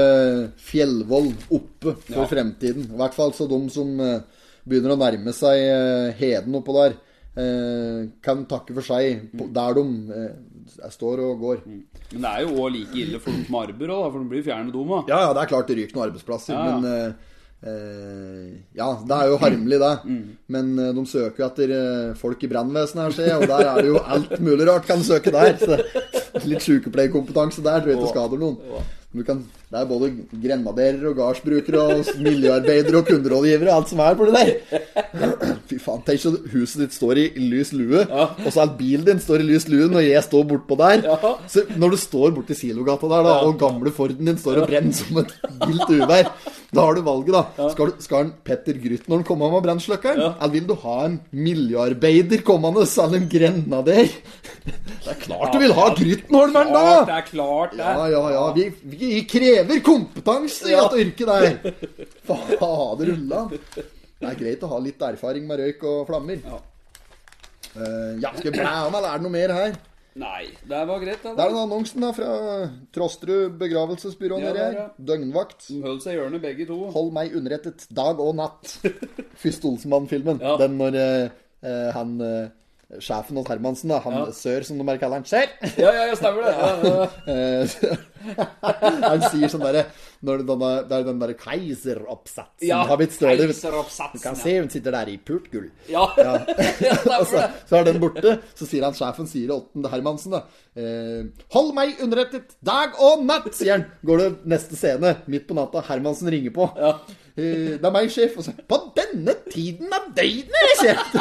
S1: Fjellvoll oppe for
S2: Ja.
S1: fremtiden. I hvert fall så de som eh, begynner å nærme seg eh, heden oppå der, eh, kan takke for seg på, der de eh, står og går.
S2: Men det er jo også like ille for dem som arbeider òg, for de blir fjernet dumme.
S1: Ja, ja, det er klart det ryker noen arbeidsplasser,
S2: Ja, ja.
S1: men eh, eh, Ja, det er jo harmelig, det.
S2: Mm.
S1: Men eh, de søker jo etter eh, folk i brannvesenet her, ser jeg, og der er det jo alt mulig rart kan søke der. Så litt sykepleierkompetanse der tror jeg ikke skader noen. Du kan, det er både grenaderer og gardsbrukere og miljøarbeidere og kunderådgivere og alt som er på det der. Fy faen, tenk så huset ditt står i lys lue, og så er bilen din står i lys lue når jeg står bortpå der. Så når du står borti Silogata der, da, og gamle Forden din står og brenner som et vilt uvær, da har du valget, da. Skal, du, skal en Petter Grytneren komme med brannsløkkeren? Eller vil du ha en miljøarbeider kommende, eller en grenader? Det er klart du vil ha Grytnholmeren, da!
S2: Klart, det er klart, det.
S1: Ja, ja, ja. Vi, vi krever kompetanse i at yrket der. Fader ulla. Det er greit å ha litt erfaring med røyk og flammer. Ja. ja, skal jeg blæ om, eller er det noe mer her?
S2: Nei, det var greit, det.
S1: Det
S2: da.
S1: er den annonsen da fra Trosterud begravelsesbyrå
S2: Ja,
S1: nede
S2: der,
S1: her.
S2: ja.
S1: Døgnvakt.
S2: De holdt seg i hjørnet, begge to.
S1: Hold meg underrettet dag og natt. Første Olsenmann-filmen.
S2: Ja.
S1: Den når eh, eh, han eh, Sjefen hos Hermansen, da, han
S2: Ja.
S1: Sør, som de bare kaller han. Sør!
S2: Ja, ja, ja, stemmer det. Ja, ja.
S1: Eh, Han sier sånn derre når den der- Det er den derre Keiseroppsatsen
S2: Ja,
S1: har blitt større. vet du.
S2: keiseroppsatsen,
S1: Du kan
S2: ja.
S1: se hun sitter der i pult gull.
S2: Ja, ja
S1: Og
S2: stemmer
S1: så,
S2: det.
S1: så er den borte. Så sier han sjefen sier Åtten Hermansen, da. Eh, Hold meg underrettet dag og natt, sier han. Går det neste scene, midt på natta, Hermansen ringer på. Eh, det er meg, sjef. Og så På denne tiden av døgnet, sjef!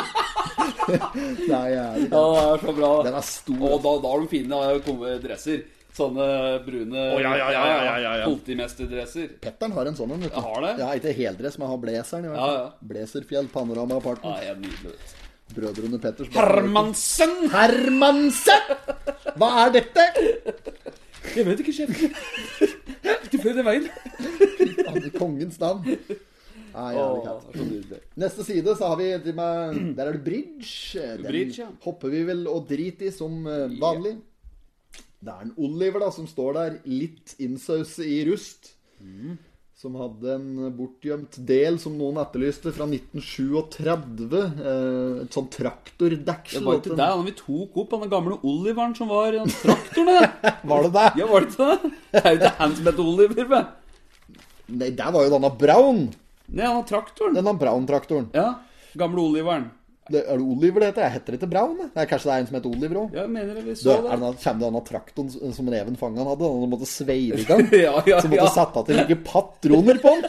S1: det er jævlig.
S2: Ja, det er så bra.
S1: Den er stor.
S2: Og da, da har de fine eh, komme- dresser. Sånne brune oh,
S6: ja, ja, ja, ja, ja, ja.
S2: politimesterdresser.
S1: Petteren har en sånn en. vet du.
S2: Jeg har det.
S1: Ja, ikke heldress, men jeg har blazeren. i hvert
S2: Ja,
S1: fall.
S2: ja.
S1: Blazerfjell, Panorama
S2: Ja,
S1: Apartment.
S2: jeg er nydelig. vet du.
S1: Brødrene Petters.
S2: Hermansen!
S1: Hermansen! Hva er dette?
S2: Jeg vet ikke, sjef. Du fløy den veien.
S1: Han i kongens navn. Nei,
S2: Å,
S1: jævlig
S2: det
S1: kaldt.
S2: er så nydelig.
S1: altså. Neste side så har vi de med, Der er det bridge. Den
S2: Bridge, ja.
S1: hopper vi vel og driter i som eh, vanlig. Det er en Oliver da som står der, litt innsause i rust. Som hadde en bortgjemt del som noen etterlyste, fra 1937. eh, Et sånn
S2: Det
S1: traktordeksel.
S2: var ikke det han vi tok opp, han den gamle Oliveren som var i den traktoren der.
S1: Var det det?
S2: Ja, var det ikke det? Det er jo ikke han som heter Oliver, men.
S1: Nei, det var jo denne Brown.
S2: Nei, han har traktoren.
S1: Denne Brown-traktoren.
S2: Ja, gamle Oliveren.
S1: Det, er det Oliver det heter? Jeg heter ikke Brown. jeg. Det er kanskje det er en som heter Oliver òg.
S2: Ja, jeg mener det vi
S1: Du, er det
S2: så det.
S1: denne- Kommer det denne traktoren som- som reven fanget han hadde? Han måtte sveive i gang?
S2: Ja, ja,
S1: Så måtte
S2: ja.
S1: sette til like patroner på den?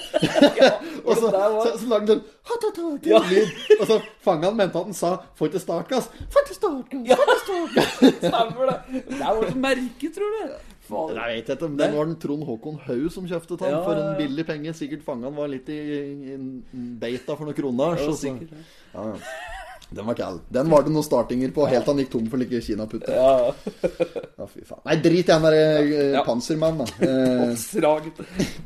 S1: og så,
S2: der var-
S1: så, så lagde sånn, den ha-ta-ta-ta lyd. Og så fanget han mente at den sa 'får ikke startgass'. Får ikke startgass!
S2: Ja, stemmer det. Det er vårt merke, tror du. Faen.
S1: Jeg vet ikke, men Den var den Trond Håkon Haug som kjøpte den
S2: Ja,
S1: for
S2: ja,
S1: en
S2: ja.
S1: billig penge. Sikkert fanget han var litt i, i, i beita for noen kroner. Så, så.
S2: sikkert,
S1: Ja, ja. Den var kald. Den var det noen startinger på, helt til han gikk tom for like kinaputter. Ja. fy faen. Nei, drit i han derre eh,
S2: Ja.
S1: pansermann, da. Eh,
S2: Panserhagen.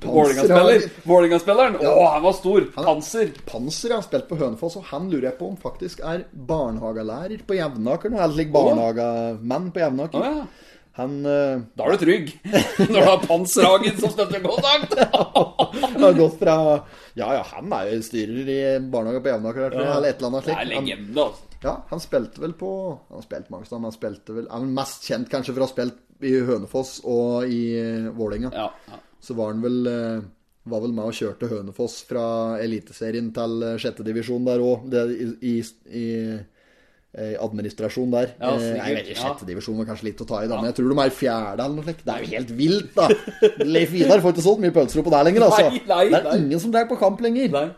S2: Vålinga-spiller. Vålinga-spilleren. Å, han var stor. Panser.
S1: Panser har spilt på Hønefoss, og han lurer jeg på om faktisk er barnehagelærer på Jevnaker nå. Eller like barnehagemann på Jevnaker.
S2: Å, ja.
S1: Han eh,
S2: Da er du trygg. Når du har Panserhagen som støttekontakt.
S1: har gått fra Ja, ja, han er jo styrer i barnehage på Jevnaker, eller
S2: Ja.
S1: et eller annet
S2: Det er
S1: slikt. Han,
S2: legende, altså.
S1: ja, han spilte vel på Han har spilt mange steder, men han spilte vel Han er mest kjent kanskje for å ha spilt i Hønefoss og i eh, Vålerenga.
S2: Ja, ja.
S1: Så var han vel eh, Var vel med og kjørte Hønefoss fra Eliteserien til eh, sjette divisjon der òg, i, i, i eh, administrasjon der.
S2: Ja,
S1: Eh,
S2: sikkert,
S1: Nei, jeg vet ikke,
S2: ja.
S1: sjette divisjon var kanskje litt å ta i, da, men jeg tror de er i fjerde eller noe slikt. Det er jo helt vilt, da! Leif Vidar får ikke solgt mye pølser oppå der lenger, altså.
S2: Nei, nei,
S1: det er
S2: nei.
S1: ingen som drar på kamp lenger.
S2: Nei.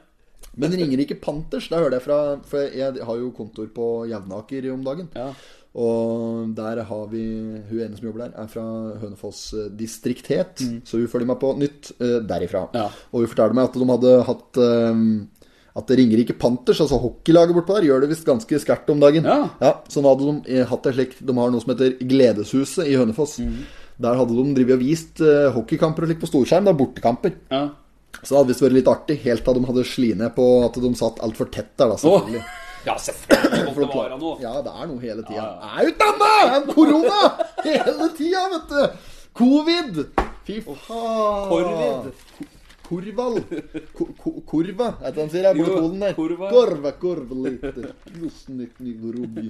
S1: Men Ringerike Panthers, da hører jeg fra For jeg har jo kontor på Jevnaker om dagen.
S2: Ja.
S1: Og der har vi Hun ene som jobber der, er fra Hønefoss eh, distrikt het. Så hun følger meg på nytt eh, derifra.
S2: Mm. Ja.
S1: Og hun fortalte meg at de hadde hatt eh, at Ringerike Panthers, altså hockeylaget bortpå der, gjør det visst ganske skarpt om dagen.
S2: Ja.
S1: så nå hadde de eh, hatt det slik De har noe som heter Gledeshuset i Hønefoss.
S2: Mm.
S1: Der hadde de drevet og vist eh, hockeykamper og slikt på storskjerm. Da, bortekamper.
S2: Ja.
S1: Så det hadde visst vært litt artig, helt til de hadde sli ned på at de satt altfor tett der, da, selvfølgelig.
S2: ja, selvfølgelig måtte
S1: For å
S2: det
S1: klare-
S2: være noe.
S1: Ja, det er noe hele tida. Er utdanna! Det er korona! Hele tida, vet du! Covid! Fy faen.
S2: Korvid.
S1: Korval. Ko- ko- Korva, er det han sier? Jeg burde
S2: Jo,
S1: koden der.
S2: korva.
S1: Korva, korveliter. Knosnikni, grobi.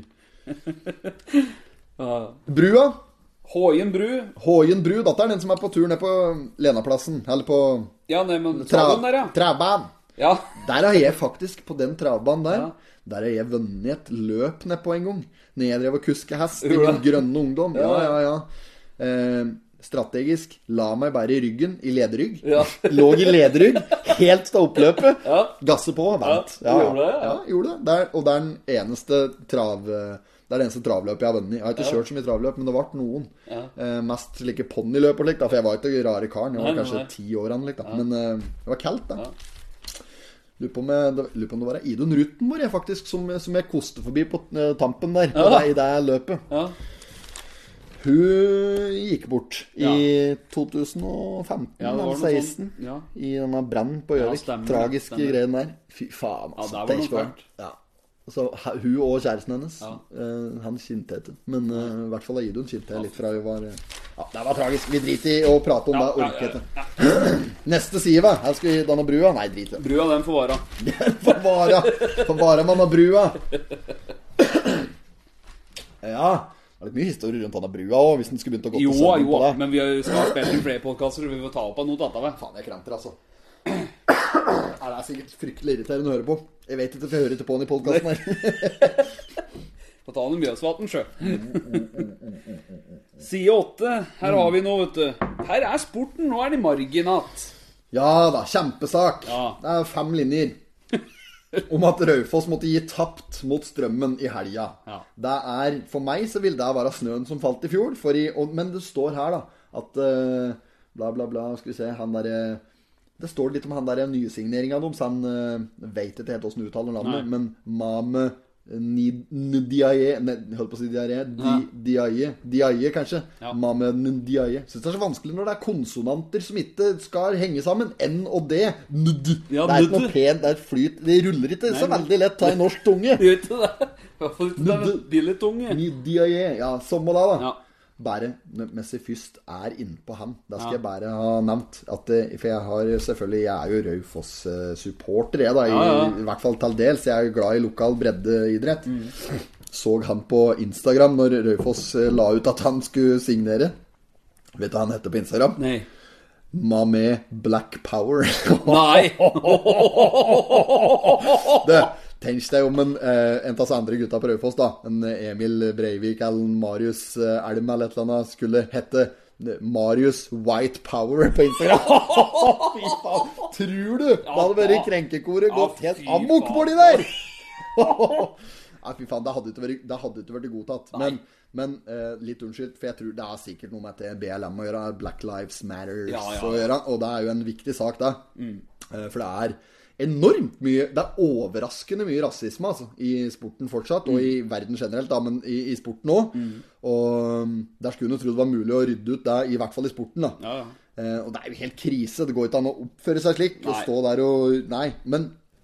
S1: Brua.
S2: Håien bru.
S1: Håien bru. Dette er den som er på tur ned på Lenaplassen. Eller på
S2: Ja, nei, men
S1: tra
S2: Trallen der, ja.
S1: Travbanen.
S2: ja.
S1: Der har jeg faktisk, på den travbanen der,
S2: Ja.
S1: der har jeg vunnet et løp nedpå en gang. Når jeg drev og kuska hest i
S2: Gjorde
S1: min
S2: det?
S1: grønne ungdom. Ja, ja, ja. Eh, strategisk. La meg bære i ryggen, i lederrygg.
S2: Ja.
S1: Lå i lederrygg helt til oppløpet.
S2: Ja.
S1: Gasse på, vant.
S2: Ja, gjorde det, ja.
S1: ja, gjorde det. Det er- og det er den eneste trav... eh, Det er det eneste travløpet jeg har vunnet i. Jeg har ikke kjørt så mye travløp, men det ble noen. Eh, mest slike ponniløp og slikt, da, for jeg var ikke rare karen. Jeg var
S2: Nei, nei,
S1: kanskje
S2: nei.
S1: ti år, eller noe slikt, da. men eh, det var kaldt, da. Lurer på om, jeg, det- lurer på om det var Idun Rutenborg jeg faktisk som, som jeg koste forbi på eh, tampen der.
S2: Ja.
S1: I det løpet.
S2: ja.
S1: Hun gikk bort i
S2: Ja.
S1: 2015
S2: Ja, det var
S1: eller
S2: noe
S1: 16.
S2: sånn, ja.
S1: I denne brannen på
S2: Ja,
S1: Gjøvik.
S2: stemmer det,
S1: Tragiske
S2: stemmer.
S1: greien der. Fy faen, altså.
S2: der var
S1: det
S2: noe
S1: skulle vært-
S2: fælt.
S1: Ja. Så he- hun og kjæresten hennes
S2: Ja.
S1: eh, Han kjente jeg ikke. Men eh, i hvert fall Idun kjente jeg litt fra hun var eh, Ja, det var tragisk. Vi driter i å prate om det.
S2: ja,
S1: Orker
S2: ja,
S1: jeg ikke. Neste side, hva? Her skal vi danne brua? Nei, drit i det.
S2: Brua, den får vare.
S1: På vara. På vara man har brua. Ja. Det er litt mye historie rundt denne brua òg, hvis den skulle begynt å gå
S2: Jo,
S1: til sønnen
S2: jo,
S1: på deg.
S2: men vi skal spille inn flere podkaster, vi får ta opp av noe annet. vet du.
S1: Faen, jeg kranter, altså. Nei, det er sikkert fryktelig irriterende å høre på. Jeg vet ikke, for jeg hører ikke på den i podkasten her.
S2: Få ta den Mjøsvatn, sjø. Side åtte. Her har vi noe, vet du. Her er sporten, nå er det marginat.
S1: Ja da, kjempesak.
S2: Ja.
S1: Det er fem linjer. Om at Raufoss måtte gi tapt mot strømmen i helga.
S2: Ja.
S1: Det er, For meg så vil det være snøen som falt i fjor. For i, og, men det står her, da, at eh, bla, bla, bla Skal vi se Han derre Det står litt om han derre nysigneringa deres. Han uh, veit ikke helt åssen uttaler navnet, men Mame eh, Ni- Ndiaye Nei, jeg holdt på å si diaré. Diaye. Diaye, kanskje.
S2: Ja.
S1: Mame Ndiaye. Syns det er så vanskelig når det er konsonanter som ikke skal henge sammen. N og D. Nd.
S2: Ja,
S1: det er ikke
S2: nd.
S1: noe pent, det er flyt. Det ruller ikke så veldig lett ta i norsk tunge.
S2: Gjør ikke det? I hvert fall ikke det
S1: Men
S2: med billetunge.
S1: Nidiaye. E. Ja, samme det, da.
S2: Ja.
S1: Bare mens jeg først er innpå ham. Det skal jeg bare ha nevnt. At, eh, for jeg har selvfølgelig Jeg er jo Raufoss-supporter, jeg, da. I,
S2: Ja, ja.
S1: I hvert fall til dels. Jeg er jo glad i lokal breddeidrett.
S2: Mm.
S1: Så han på Instagram når Raufoss eh, la ut at han skulle signere. Vet du hva han heter på Instagram?
S2: Nei.
S1: Mame Black Power.
S2: Nei.
S1: det, tenk deg om en, eh, en av oss andre gutta på Raufoss, da. En Emil Breivik eller en Marius eh, Elm eller et eller annet skulle hette eh, Marius White Power på Instagram. Fy faen. Tror du? Da hadde vært krenkekoret gått
S2: Ja,
S1: helt
S2: fy
S1: amok
S2: faen.
S1: for de der! Nei, fy faen, det hadde ikke vært, det hadde ikke vært godtatt. Men, men eh, litt unnskyldt, for jeg tror det er sikkert noe med at det er BLM å gjøre, Black Lives Matter
S2: Ja, ja.
S1: å gjøre, og det er jo en viktig sak, det.
S2: Mm.
S1: Eh, For det er enormt mye Det er overraskende mye rasisme altså, i sporten fortsatt, og
S2: Mm.
S1: i verden generelt, da, men i, i sporten òg. Og um, der skulle en jo tro det var mulig å rydde ut det, i hvert fall i sporten, da.
S2: Ja, ja.
S1: Eh, og det er jo helt krise. Det går ikke an å oppføre seg slik og
S2: Nei.
S1: stå der og Nei. Men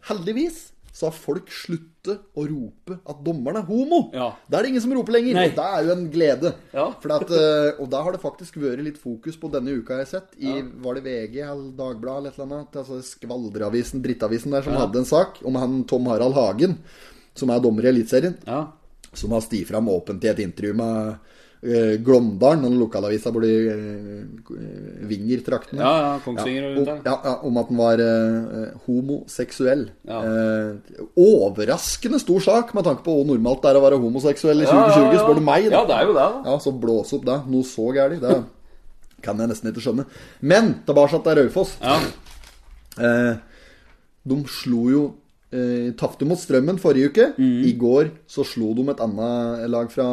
S1: heldigvis så har folk sluttet å rope at dommeren er homo.
S2: Ja.
S1: Da er det ingen som roper lenger.
S2: Nei.
S1: Og det er jo en glede.
S2: Ja.
S1: For at, eh, og da har det faktisk vært litt fokus på denne uka jeg har sett. I, Var det VG eller Dagbladet eller et eller annet? Altså Skvaldreavisen, drittavisen der, som hadde en sak om han Tom Harald Hagen, som er dommer i Eliteserien
S2: Ja.
S1: som har sti fram åpent i et intervju med eh, Glåmdalen, den lokalavisa borti uh, Vinger-traktene.
S2: Ja, ja, Kongsvinger og rundt
S1: om,
S2: der.
S1: ja, ja, om at han var eh, homoseksuell.
S2: Ja.
S1: Eh, overraskende stor sak med tanke på hvor normalt det er å være homoseksuell i 2020, spør du meg.
S2: Ja, det er jo det, da.
S1: Ja, så blåse opp da. Noe så gærent. Det kan jeg nesten ikke skjønne. Men tilbake til Raufoss.
S2: Ja.
S1: Eh, de slo jo eh, Tapte mot Strømmen forrige uke.
S2: Mm.
S1: I går så slo de et annet lag fra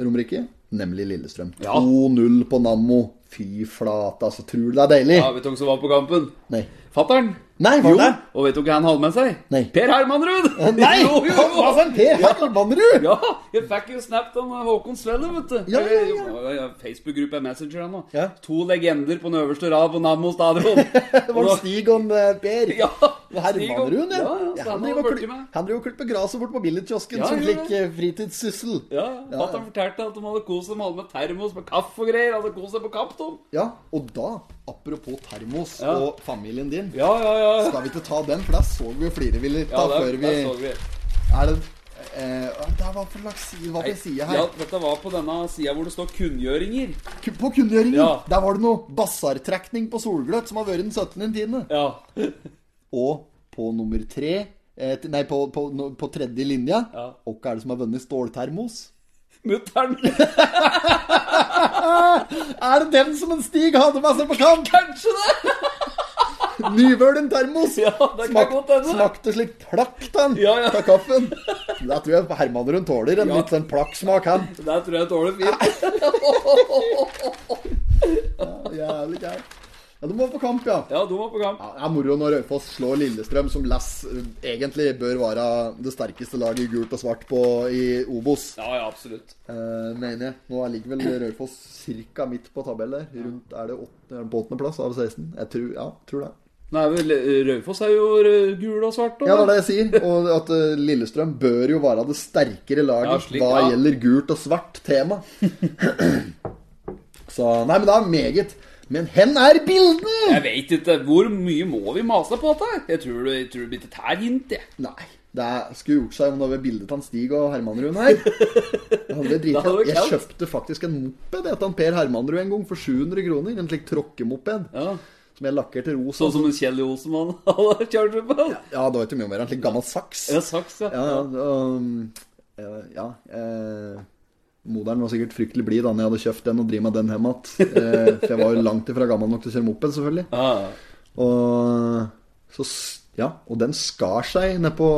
S1: Romerike, nemlig Lillestrøm.
S2: Ja.
S1: 2-0 på Nammo. Fy flate, altså. Tror du det er deilig?
S2: ja vet du hvem som var på kampen?
S1: Nei.
S2: Fattern.
S1: Nei, var
S2: Jo,
S1: det?
S2: og vet du hva han hadde med seg?
S1: Nei. Eh,
S2: Per Hermanrud!
S1: Nei!
S2: jo, jo,
S1: Han var
S2: jo.
S1: sånn Per Hermanrud!
S2: Ja, jeg fikk jo snapt om eh, Håkon Svelle, vet du. Eh,
S1: Ja, ja, ja.
S2: Eller, ja, Facebook-gruppe Messenger han, da.
S1: Ja.
S2: To legender på den øverste rad på Nammo stadion.
S1: Det var Stig og eh, Per.
S2: Ja.
S1: Hermanrud,
S2: ja. ja, så
S1: han driver
S2: han hadde
S1: og
S2: vært
S1: klipp-
S2: med.
S1: han driver og klipper gresset bort på billedkiosken
S2: Ja,
S1: som
S2: ja, ja.
S1: slik eh, fritidssyssel.
S2: Ja, ja. At han fortalte at de hadde kost seg, de hadde med termos med kaffe og greier. Hadde kost seg på kamp, de.
S1: Ja, og da, apropos termos
S2: Ja.
S1: og familien din
S2: Ja, ja, ja.
S1: Skal vi ikke ta den, for der så vi jo flere ville ta
S2: Ja, der,
S1: før vi
S2: der så vi.
S1: Er det eh, Det var for slags side, hva for side her?
S2: Ja, dette var på denne sida hvor det står kunngjøringer.
S1: Ku- På kunngjøringen!
S2: Ja.
S1: Der var det noe basartrekning på Solgløtt som har vært den 17. tiende.
S2: Ja.
S1: Og på nummer tre eh, t- Nei, på, på, no- på tredje linja.
S2: Ja.
S1: Og hva er det som har vunnet ståltermos?
S2: Mutter'n.
S1: Er det den som en Stig hadde med seg på kamp?
S2: Kanskje det!
S1: Nyvølen termos!
S2: Ja, det kan
S1: Smak,
S2: godt hende.
S1: smakte slik plakk den
S2: Ja, ja.
S1: av kaffen. Da tror jeg Hermanrud tåler en
S2: Ja.
S1: litt sånn plakksmak, han.
S2: Det tror jeg tåler fint.
S1: Jævlig gæren. Ja, du må på kamp, ja.
S2: Ja, de var på kamp.
S1: Ja, Det er moro når Raufoss slår Lillestrøm, som Lass eh, egentlig bør være det sterkeste laget i gult og svart på i Obos,
S2: Ja, ja, absolutt.
S1: eh, mener jeg. Nå er- ligger vel Raufoss ca. midt på tabellen der. Rundt er det åtte, er det på åttendeplass av 16? Jeg tror, ja, tror det.
S2: Nei, vel, Raufoss er jo eh, gul og svart.
S1: Ja, det er
S2: da.
S1: det jeg sier. Og at eh, Lillestrøm bør jo være det sterkere laget
S2: Ja, slik,
S1: hva
S2: ja.
S1: gjelder gult og svart tema. Så Nei, men det er meget. Men hen er bilden?
S2: Jeg veit ikke. Hvor mye må vi mase på dette? her? Jeg tror det, jeg tror det blir et tær hint, jeg.
S1: Nei. Det er- skulle gjort seg om det var bildet av Stig og Hermanrud her. Det hadde vært
S2: Det hadde
S1: dritfett.
S2: vært
S1: Jeg
S2: kaldt.
S1: kjøpte faktisk en moped etter han Per Hermanrud en gang for 700 kroner. En slik tråkkemoped
S2: Ja.
S1: som jeg lakkerte rosa.
S2: Sånn som en Kjell Olsenmann hadde kjørt seg på.
S1: Ja, det var ikke mye mer. En slik gammel saks.
S2: Ja, saks, ja.
S1: Ja, ja. Um, eh, ja eh, Moderen var sikkert fryktelig blid da når jeg hadde kjøpt den og driver med den hjem igjen. Eh, for jeg var jo langt ifra gammel nok til å kjøre moped, selvfølgelig.
S2: Ja, ja.
S1: Og, så, s- ja, og den skar seg ned på,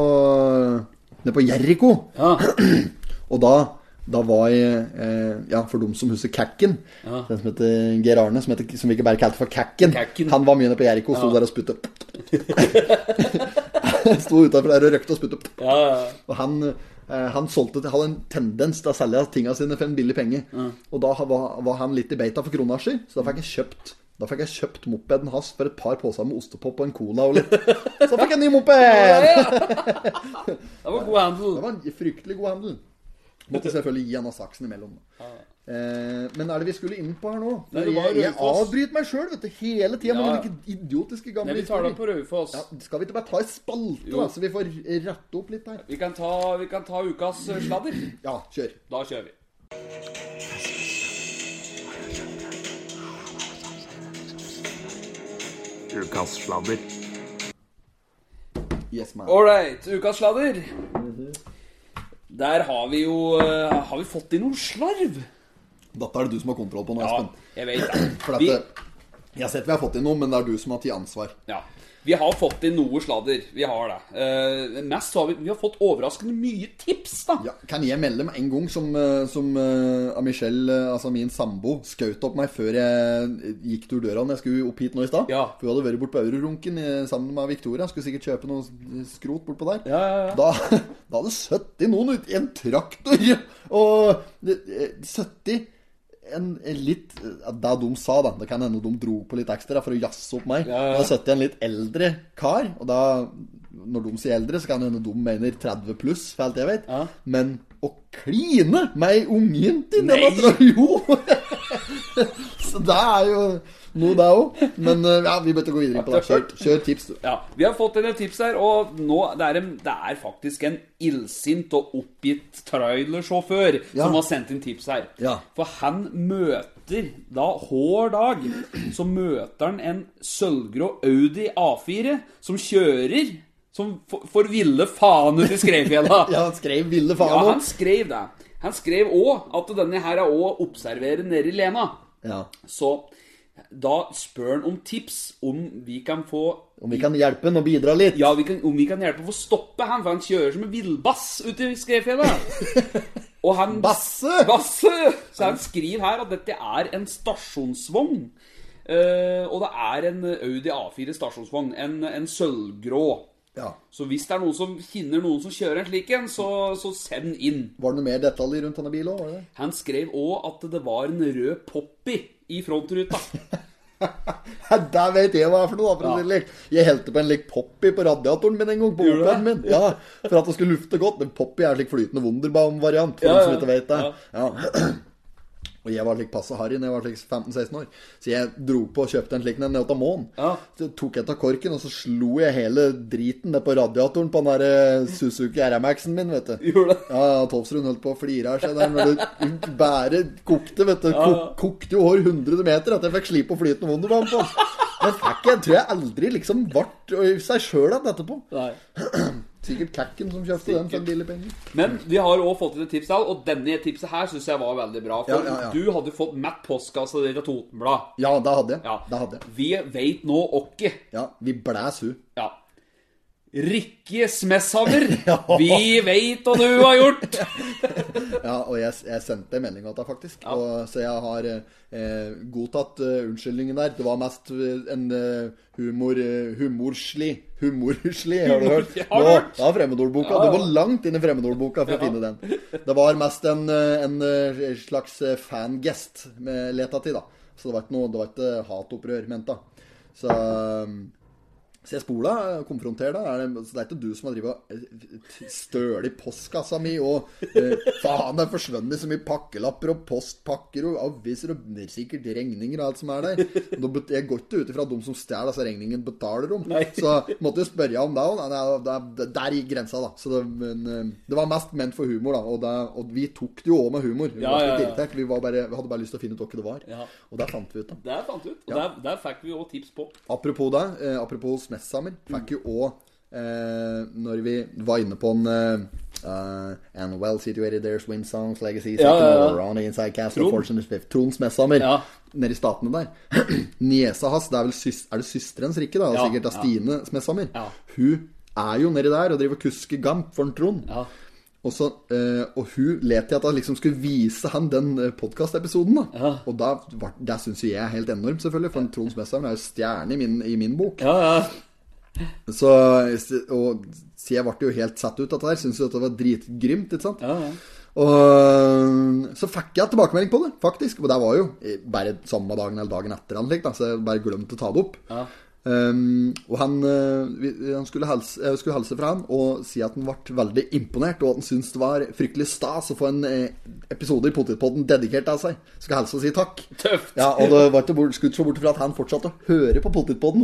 S1: ned på Jericho.
S2: Ja.
S1: Og da, da var jeg eh, Ja, for dem som husker Kakken.
S2: Ja.
S1: Den som heter Geir Arne, som, heter, som vi ikke bare kalte for Kakken.
S2: Kakken.
S1: Han var mye nede på Jericho, sto der og spytte. sto utafor der og røkte og spytte.
S2: ja, ja.
S1: Og han, eh, han solgte, hadde en tendens til å selge tinga sine for en billig penge. Og da ha- var, var han litt i beita for krona si, så da fikk jeg kjøpt da fikk jeg kjøpt mopeden hans for et par poser med ostepop og en cola og litt. Så fikk jeg en ny moped!
S2: Det var god handel.
S1: Det var en fryktelig god handel. Måtte selvfølgelig gi han av saksen imellom. da. Eh, men er det vi skulle inn på her nå?
S2: Nei, det var
S1: jeg, jeg
S2: Raufoss.
S1: avbryter meg sjøl hele tida med
S2: Ja, ja.
S1: slike idiotiske gamle
S2: Nei, vi tar det på Raufoss.
S1: Ja, skal vi ikke bare ta ei spalte,
S2: Jo.
S1: da, så vi får rette opp litt her?
S2: Vi kan, ta, vi kan ta ukas eh, sladder.
S1: Ja, kjør.
S2: Da kjører vi.
S6: Ukas sladder.
S1: Yes, man.
S2: Ålreit, ukas sladder. Der har vi jo eh, Har vi fått inn noen slarv?
S1: Dette er det du som har kontroll på nå,
S2: Ja,
S1: Espen.
S2: jeg vet
S1: For at
S2: det. Vi,
S1: det, jeg har sett vi har fått inn noe, men det er du som har tatt ansvar.
S2: ja, vi har fått inn noe sladder. Vi har det. Eh, mest så har vi, vi har fått overraskende mye tips, da.
S1: Ja, kan jeg melde med en gang som, eh, som eh, Michelle, eh, altså min sambo, skjøt opp meg før jeg gikk tur døra når jeg skulle opp hit nå i stad?
S2: Ja.
S1: For hun hadde vært bort på Eurorunken eh, sammen med Victoria. Skulle sikkert kjøpe noe skrot bortpå der.
S2: Ja, ja, ja.
S1: Da, da hadde 70 noen ut i en traktor og det- eh, 70 en litt Da de sa, da Det kan hende de dro på litt ekstra for å jazze opp meg.
S2: Ja, ja.
S1: Da satt jeg en litt eldre kar, og da Når de sier eldre, så kan det hende de mener 30 pluss, for alt jeg vet.
S2: Ja.
S1: Men å kline med ei ungjente
S2: Nei!
S1: Jo! så det er jo noe, det òg. Men eh, ja, vi bør gå videre på det. Kjør, kjør tips, du.
S2: Ja, Vi har fått en del tips her, og nå, det, er en, det er faktisk en illsint og oppgitt trailersjåfør
S1: Ja.
S2: som har sendt inn tips her.
S1: Ja.
S2: For han møter da hver dag så møter han en sølvgrå Audi A4 som kjører som for, for ville faen ut i Skreifjella.
S1: Ja, han skrev ville faen
S2: Ja,
S1: om.
S2: han skrev det. Han skrev òg at denne her er òg observerer nede i Lena.
S1: Ja.
S2: Så da spør han om tips om vi kan få
S1: Om vi kan hjelpe han og bidra litt?
S2: ja, vi kan, om vi kan hjelpe å få stoppe han, for han kjører som en villbass ute i Skredfjellet. Og han
S1: Basse!
S2: Basse! Så han skriver her at dette er en stasjonsvogn. Eh, og det er en Audi A4 stasjonsvogn. En, en sølvgrå.
S1: Ja.
S2: Så hvis det er noen som kjenner noen som kjører en slik en, så, så send inn.
S1: Var det noe mer detaljer rundt denne bilen òg?
S2: Han skrev òg at det var en rød Poppy i frontruta.
S1: Det vet jeg hva er for noe, da, for å
S2: Ja.
S1: si det litt. Jeg helte på en lik Poppy på radiatoren min en gang. på
S2: Gjorde du
S1: mopeden min. Ja, For at det skulle lufte godt. Men Poppy er slik flytende Wunderbaum-variant. for
S2: Ja,
S1: de som
S2: ja,
S1: ikke vet det. Ja. Og jeg var slik passe harry når jeg var slik 15-16 år. Så jeg dro på og kjøpte en slik en av månen.
S2: Ja.
S1: Så tok jeg av korken, og så slo jeg hele driten ned på radiatoren på den der eh, Suzuki RMX-en min, vet du.
S2: Gjorde det?
S1: Ja, ja, Tolvsrud holdt på å flire av seg der når det bæret kokte. vet du Kok, Kokte jo hår 100 meter etter jeg fikk slipe og flytende Wunderbaum på. Men fikk jeg tror jeg aldri liksom ble seg sjøl igjen etterpå.
S2: Nei.
S1: Sikkert Kakken som kjøpte den for billige penger.
S2: Men vi har også fått inn et tips til, og denne tipset her syns jeg var veldig bra. For
S1: Ja, ja, ja.
S2: du hadde fått Matt Postkassa ditt av Totenblad.
S1: Ja, det hadde jeg.
S2: Ja.
S1: Det hadde jeg.
S2: Vi veit nå åkke.
S1: Ja, Vi blæs hun.
S2: Ja. Rikke Smesshammer,
S1: Ja.
S2: vi veit hva du har gjort!
S1: Ja, og jeg, jeg sendte en melding av det, faktisk. Og, så jeg har eh, godtatt eh, unnskyldningen der. Det var mest eh, en eh, humor... Eh, humorslig. Humorslig, har du hørt?
S2: Ja,
S1: Nå,
S2: hørt.
S1: ja, fremmedordboka.
S2: Ja, ja.
S1: Det var langt inn i fremmedordboka for å finne den. Det var mest en, eh, en eh, slags eh, fangest med leta til, da. Så det var ikke noe, det var ikke hatopprør ment, da. Så... eh, så jeg spola, konfronter deg. Er det, så det er ikke du som har drevet og støl i postkassa mi og eh, Faen, det forsvunnet så mye pakkelapper og postpakker og aviser og sikkert regninger og alt som er der. Og da bet- jeg går ikke ut ifra at de som stjeler disse regningene, betaler dem. Så måtte jeg spørre om det òg. Nei, det er- det er- Der gikk grensa, da. Så det, men, eh, det var mest ment for humor, da. Og, det, og vi tok det jo òg med humor. Vi,
S2: Ja,
S1: var
S2: ja,
S1: ikke
S2: ja.
S1: irritert. vi, var bare, vi hadde bare lyst til å finne ut hva det var.
S2: Ja.
S1: Og der fant vi ut, da.
S2: Der fant vi ut. Og der, der fikk vi òg tips på.
S1: Apropos det, eh, apropos
S2: Mm.
S1: Smesshammer, fikk jo òg eh, Når vi var inne på en eh, eh, And well situated there swim songs, legacy,
S2: Ja,
S1: second
S2: ja, ja.
S1: over, on the inside castle,
S2: Trond.
S1: fortune is fifth. Trond Smesshammer.
S2: Ja.
S1: Nede i statene der. Niesa hans, det er vel sys er det søsterens rikke, da?
S2: Ja,
S1: sikkert av
S2: ja.
S1: Stine Smesshammer.
S2: Ja.
S1: Hun er jo nedi der og driver og kusker gamp for en Trond.
S2: Ja.
S1: Og, så, eh, og hun let i at jeg liksom skulle vise han den podkastepisoden. da Og da, var- det syns jo jeg er helt enormt, selvfølgelig, for en Trond Smesshammer er jo stjerne i min, i min bok.
S2: Ja, ja.
S1: Så, og, så jeg ble jo helt satt ut av dette her. Syntes jo dette var dritgrymt. ikke sant?
S2: Ja, ja.
S1: Og så fikk jeg tilbakemelding på det, faktisk. Og det var jo bare samme dagen eller dagen etter. Han, slik, da, så jeg bare glemte å ta det opp.
S2: Ja.
S1: Um, og han, eh, vi- han skulle, helse, jeg skulle helse fra han og si at han ble veldig imponert, og at han syntes det var fryktelig stas å få en eh, episode i Potetpodden dedikert av seg. Skal helse og si takk.
S2: Tøft.
S1: Ja, og det var ikke bort, skulle ikke se bort fra at han fortsatte å høre på Potetpodden.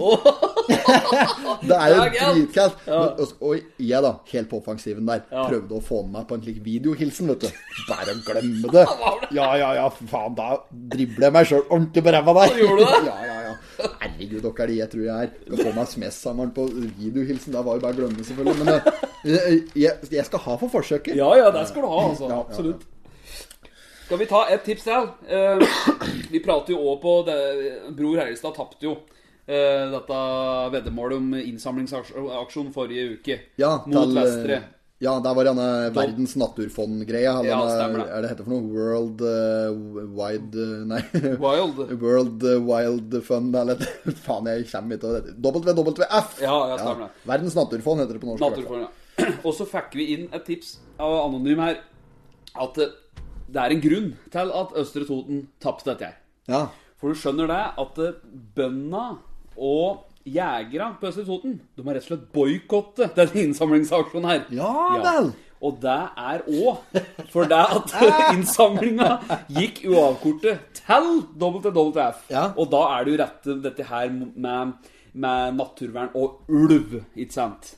S1: det er jo
S2: Det er galt.
S1: dritkaldt. Men- Og, og jeg, da, helt på offensiven der,
S2: Ja.
S1: prøvde å få med meg på en slik videohilsen, vet du. Bare å glemme det. Ja, ja, ja, for faen, da dribler jeg meg sjøl ordentlig på ræva der.
S2: Gjorde du det?
S1: Ja, ja, ja. Herregud, dere er de jeg tror jeg er. Skal få meg smesshammeren på videohilsen. Det var jo bare å glemme, selvfølgelig. Men eh, jeg, jeg skal ha for forsøket.
S2: Ja, ja, det skal du ha, altså.
S1: Ja, ja, ja.
S2: Absolutt. Skal vi ta et tips til? Eh, vi prater jo òg på det, Bror Herrestad tapte jo eh, dette veddemålet om innsamlingsaksjon forrige uke
S1: Ja,
S2: mot
S1: til, eh,
S2: Vestre.
S1: Ja, der var denne Verdens naturfond-greia. eller
S2: Ja,
S1: denne-
S2: stemmer det.
S1: Er det heter for noe? World eh, Wide eh, Nei.
S2: Wild.
S1: World eh, Wild Fund eller et- Faen, jeg kommer ikke over det. WWF!
S2: Ja, ja, stemmer det.
S1: Verdens naturfond heter det på norsk. i hvert fall.
S2: Naturfond, ja. Og så fikk vi inn et tips av anonym her. At eh, Det er en grunn til at Østre Toten tapte dette her.
S1: Ja.
S2: For du skjønner det at eh, bøndene og jegerne på Østre Toten de har rett og slett boikottet denne innsamlingsaksjonen her.
S1: Ja vel.
S2: Og det er òg for det at innsamlinga gikk uavkortet til WWF.
S1: Ja.
S2: Og da er det jo rett dette her med, med naturvern og ulv, ikke sant?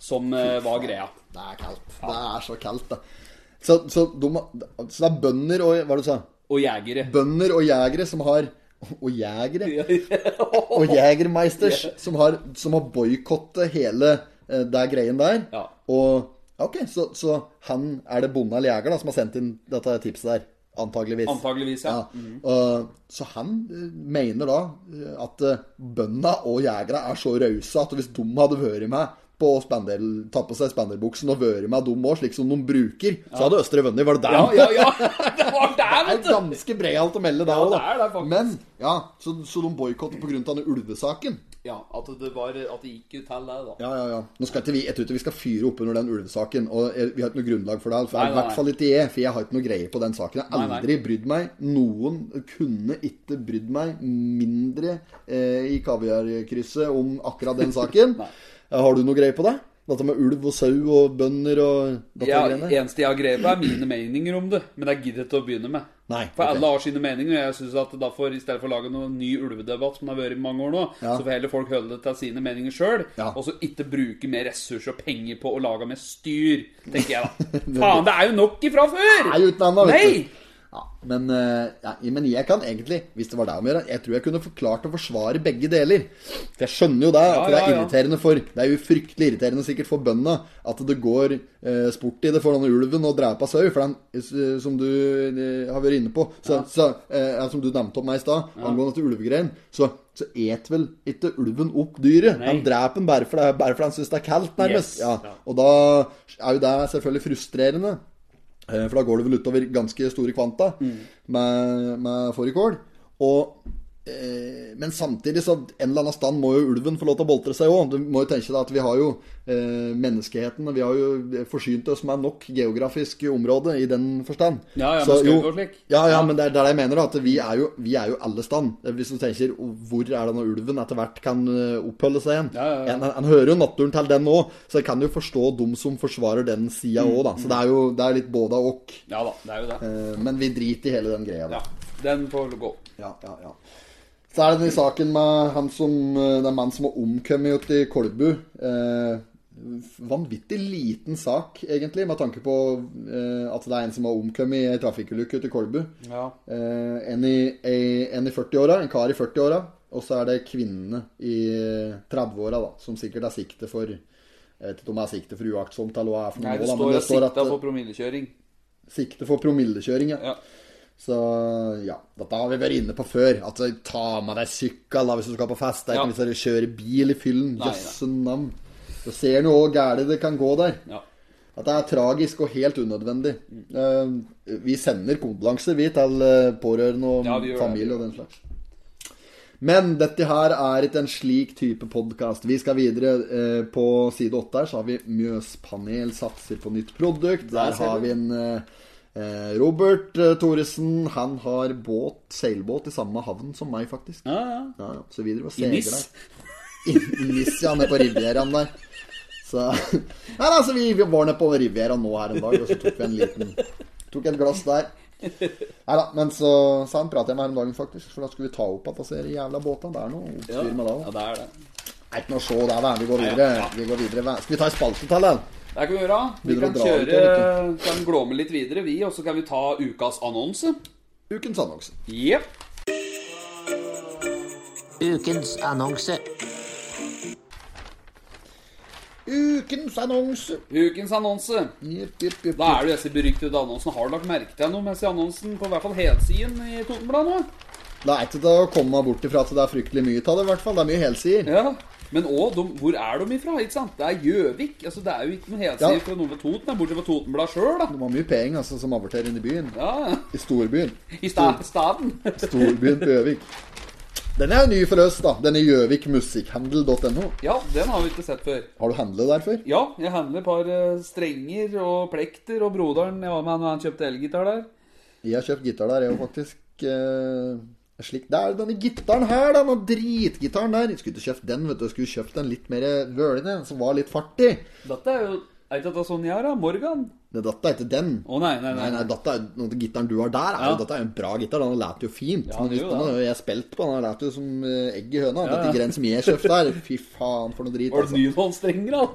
S2: Som eh, var greia.
S1: Det er kaldt. Det er så kaldt, det. Så, så, de, så det er bønder og Hva du sa
S2: Og jegere.
S1: Bønder og jegere som har Og jegere?
S2: ja.
S1: og Jegermeisters som har, som har boikottet hele eh, det greien der.
S2: Ja.
S1: Og ja, OK, så, så han er det bonde eller jeger da, som har sendt inn dette tipset der. Antageligvis.
S2: Antageligvis, ja. Mhm.
S1: Ja. Og, så han eh, mener da eh, at eh, bøndene og jegerne er så rause at hvis de hadde vært med på å spandel- ta på seg spanderbuksen og vært med dem òg, slik som de bruker, så hadde Østre vunnet. Var det der?
S2: Ja, ja, ja. Det var der,
S1: Det er
S2: vet du!
S1: ganske breialt å melde da
S2: Ja,
S1: òg,
S2: det er det faktisk.
S1: Men ja, så, så de boikotter pga. denne ulvesaken.
S2: Ja, at det, var, at det gikk til det, da.
S1: Ja, ja, ja. Nå skal ikke vi ett ute, vi skal fyre opp under den ulvesaken. Og jeg- vi har ikke noe grunnlag for det. For,
S2: Nei,
S1: I
S2: nei,
S1: hvert fall ikke jeg, for jeg har ikke noe greie på den saken. Jeg har
S2: Nei, nei.
S1: aldri brydd meg. Noen kunne ikke brydd meg mindre eh, i kaviarkrysset om akkurat den saken.
S2: Nei.
S1: Eh, har du noe greie på det? Dette med ulv og sau og bønder og dette
S2: Ja,
S1: greiene?
S2: eneste jeg har greie på, er mine meninger om det. Men jeg gidder ikke å begynne med.
S1: Nei,
S2: For
S1: ok.
S2: alle har sine meninger, og jeg synes at da får, i stedet for å lage noen ny ulvedebatt, som har vært i mange år nå,
S1: Ja.
S2: så får heller folk holde det til sine meninger sjøl,
S1: Ja.
S2: og så ikke bruke mer ressurser og penger på å lage mer styr, tenker jeg da. Faen, det er jo nok ifra før!
S1: Det er jo ikke noe annet, vet
S2: Nei!
S1: du. Ja, men, eh, ja, men jeg kan egentlig, hvis det var det om å gjøre, jeg tror jeg kunne forklart og forsvare begge deler. For jeg skjønner jo det, at
S2: Ja,
S1: det er
S2: ja, ja.
S1: irriterende for Det er jo fryktelig irriterende sikkert for bøndene at det går eh, sport i det for denne ulven å drepe sau. For den, eh, som du eh, har vært inne på, så, så, eh, ja, som du nevnte om meg i stad, angående dette ulvegreien, så, så et vel ikke ulven opp dyret.
S2: Nei.
S1: Den dreper den bare fordi bare fordi han syns det er kaldt, nærmest.
S2: Yes. Ja.
S1: Ja. Og da er jo det selvfølgelig frustrerende. Eh, For da går det vel utover ganske store kvanta
S2: Mm.
S1: med, med fårikål. Og, eh, men samtidig så en eller annen stand må jo ulven få lov til å boltre seg òg. Du må jo tenke deg at vi har jo eh, menneskeheten og Vi har jo eh, forsynt oss med nok geografisk område i den forstand.
S2: Ja, ja, men
S1: Så
S2: skal
S1: jo-
S2: det gå slik?
S1: Ja, ja, men det er det er det jeg mener. da, At vi er jo, vi er jo alle stand. Hvis du tenker hvor er det når ulven etter hvert kan eh, oppholde seg igjen.
S2: Ja, ja, ja.
S1: En, en hører jo naturen til den òg, så jeg kan jo forstå dem som forsvarer den sida
S2: Mm,
S1: òg, da. Så det er jo det er litt både og.
S2: Ja da, det er jo det.
S1: Eh, Men vi driter i hele den greia, da.
S2: Ja, den får gå.
S1: Ja, ja, ja. Så er det den saken med han som eh, Det er mannen som har omkommet ute i Kolbu. Eh, vanvittig liten sak, egentlig, med tanke på eh, at det er en som har omkommet i ei trafikkulykke ute i Kolbu.
S2: Ja.
S1: Eh, en i, ei- en i 40-åra, en kar i 40-åra, og så er det kvinnene i 30-åra, da, som sikkert er sikte for Jeg vet ikke om det er sikte for uaktsomt, eller hva det er for
S2: Nei,
S1: noe,
S2: det
S1: da,
S2: står at sikta
S1: eh,
S2: for promillekjøring.
S1: sikte for promillekjøring, ja.
S2: Ja.
S1: Så ja, dette har vi vært inne på før. At altså, ta med deg sykkel da, hvis du skal på fest. Det er
S2: Ja.
S1: ikke noe vits i å kjøre bil i fyllen.
S2: Nei, nei.
S1: Jøsse navn. Du ser nå hvor gærent det kan gå der.
S2: Ja.
S1: At det er tragisk og helt unødvendig. Eh, vi sender kondolanser, vi, til eh, pårørende og
S2: Ja, vi gjør det.
S1: familie og den slags. Men dette her er ikke en slik type podkast. Vi skal videre. eh, På side åtte her så har vi Mjøspanel satser på nytt produkt. Der
S2: ser
S1: har
S2: du.
S1: vi en eh, Robert eh, Thoresen. Han har båt, seilbåt i samme havn som meg, faktisk.
S2: Ja, ja.
S1: Ja, ja. Så videre og
S2: I Nis.
S1: segler. I Nis, ja, nede på Rivieraen der. Så Nei, da, så vi, vi var nede på Rivieraen nå her en dag, og så tok vi en liten Tok et glass der. Nei da, men så sa han pratet jeg med her om dagen, faktisk. For da skulle vi ta opp at disse jævla båtene. Det er noe
S2: Ja.
S1: oppstyr med det
S2: ja,
S1: òg.
S2: det er det.
S1: Nei, ikke noe å se der, da. Vi går
S2: ja,
S1: videre.
S2: ja.
S1: Vi går videre. Hva- Skal vi ta en spaltetall, eller?
S2: Det kan vi gjøre. Vi
S1: Begynner
S2: kan
S1: å dra ut,
S2: kjøre
S1: eller
S2: Kan glåme litt videre, vi, og så kan vi ta ukas annonse.
S1: Ukens annonse.
S2: Jepp.
S6: Ukens annonse.
S1: Ukens annonse.
S2: Ukens annonse.
S1: Jipp, jipp, jipp.
S2: Da er det jo disse beryktede annonsene. Har du lagt merke til noe med disse annonsen på i hvert fall helsiden i Totenbladet nå?
S1: Det er ikke til å komme bort ifra at det er fryktelig mye av det, i hvert fall. Det er mye helsider.
S2: Ja. Men òg de, hvor er de ifra? ikke sant? Det er Gjøvik. altså Det er jo ikke noen helside
S1: Ja.
S2: fra noe ved Toten, det er bortsett fra Totenbladet sjøl, da.
S1: Det var mye penger altså, som aborterer inne i byen.
S2: Ja,
S1: I storbyen.
S2: I sta staden.
S1: Storbyen på Gjøvik. Den er jo ny for oss, da. Den er gjøvikmusikkhandel.no.
S2: Ja, den har vi ikke sett før.
S1: Har du handlet der før?
S2: Ja, jeg handler et par eh, strenger og plekter og broderen jeg var med han, han kjøpte elgitar der.
S1: Jeg har kjøpt gitar der, jeg òg, faktisk. Eh, slik Det er denne gitaren her, da. Den dritgitaren der. Jeg skulle ikke kjøpt den, vet du. Jeg skulle kjøpt den litt mer vølende, en som var litt fartig.
S2: Dette er jo Er ikke dette sånn jeg har, da? Morgan?
S1: Men dette er ikke den.
S2: Å nei, nei, nei.
S1: Nei, nei, dette er noe til gitaren du har der. Er,
S2: Ja.
S1: jo- Dette er jo en bra gitar. Den låter jo fint.
S2: Ja,
S1: Men
S2: det gjør
S1: hvis den
S2: det.
S1: har jeg spilt på. Den låter jo som eh, egg i høna.
S2: Ja,
S1: Dette
S2: ja.
S1: greiene som jeg kjøpte her. Fy faen, for noe drit.
S2: Var det
S1: Altså.
S2: nylonstrenger, da?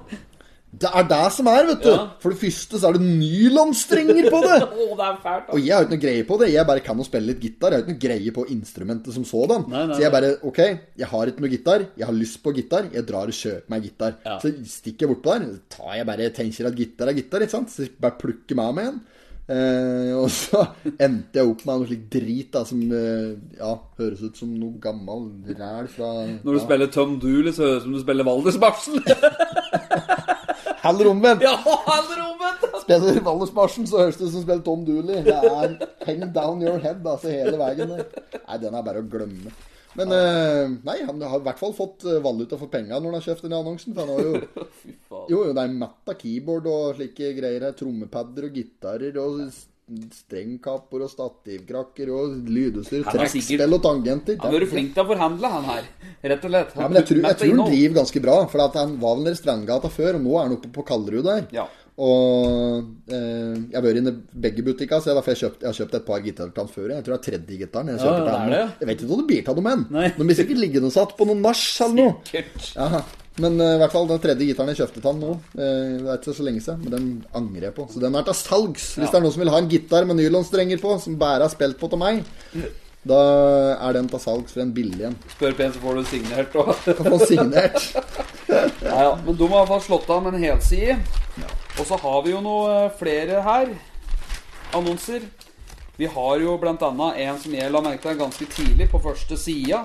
S1: Det er det som er, vet du.
S2: Ja.
S1: For det første så er det nylonstrenger på det.
S2: Å, det er fælt,
S1: Og
S2: da.
S1: jeg har jo ikke noe greie på det. Jeg bare kan å spille litt gitar. Jeg har ikke noe greie på instrumentet som sådan.
S2: Nei, nei,
S1: så jeg bare OK, jeg har ikke noe gitar. Jeg har lyst på gitar. Jeg drar og kjøper meg gitar.
S2: Ja.
S1: Så stikker jeg bortpå der. Så tar jeg bare tenker at gitar er gitar, ikke sant. Så jeg bare plukker meg av med en. Eh, og så endte jeg opp med noe slik drit da som eh, ja, høres ut som noe gammel ræl fra
S2: Når du
S1: ja.
S2: spiller Tom Dooley, så høres det ut som du spiller Valdresbarsel.
S1: Heller omvendt.
S2: ja, eller omvendt!
S1: Spiller Wallersmarsjen, så høres det ut som spiller Tom Dooley. Det er hang down your head, altså, hele veien der. Nei, den er bare å glemme. Men eh, nei, han har i hvert fall fått eh, valuta for penga når han har kjøpt den annonsen. For han har jo
S2: Fy faen.
S1: Jo, jo, det er matt av keyboard og slike greier her. Trommepadder og gitarer og s- strengkapper og stativkrakker og lydutstyr.
S2: Han er sikkert-
S1: Trekkspill og tangenter.
S2: Han har vært flink til å forhandle, han her. Rett og slett.
S1: Ja, men jeg tror, jeg
S2: Mett av
S1: tror han
S2: innhold.
S1: driver ganske bra, for at han var vel nede i Strandgata før, og nå er han oppe på Kallerud der.
S2: Ja.
S1: Og eh, jeg har vært inne i begge butikker, så jeg, derfor jeg, har kjøpt, jeg har kjøpt et par gitarer til han før. Jeg tror det er tredje gitaren jeg
S2: Ja,
S1: kjøper
S2: det
S1: til
S2: er
S1: han. nå.
S2: det.
S1: Jeg vet ikke hva det blir til dem enn.
S2: Nei.
S1: De blir sikkert liggende og satt på noen nach eller noe.
S2: Sikkert.
S1: Ja, men eh, i hvert fall den tredje gitaren jeg kjøpte til han nå, eh, det er ikke så lenge siden, men den angrer jeg på. Så den er til salgs. Hvis det er noen som vil ha en gitar med nylonstrenger på, som bare er spilt på til meg, da er den til salgs for en billig en.
S2: Spør pent, så får du signert og
S1: Kan få signert.
S2: Ja, ja. Men de har i hvert fall slått av med en helside. Og så har vi jo noe eh, flere her. Annonser. Vi har jo blant annet en som jeg la merke til ganske tidlig på første sida.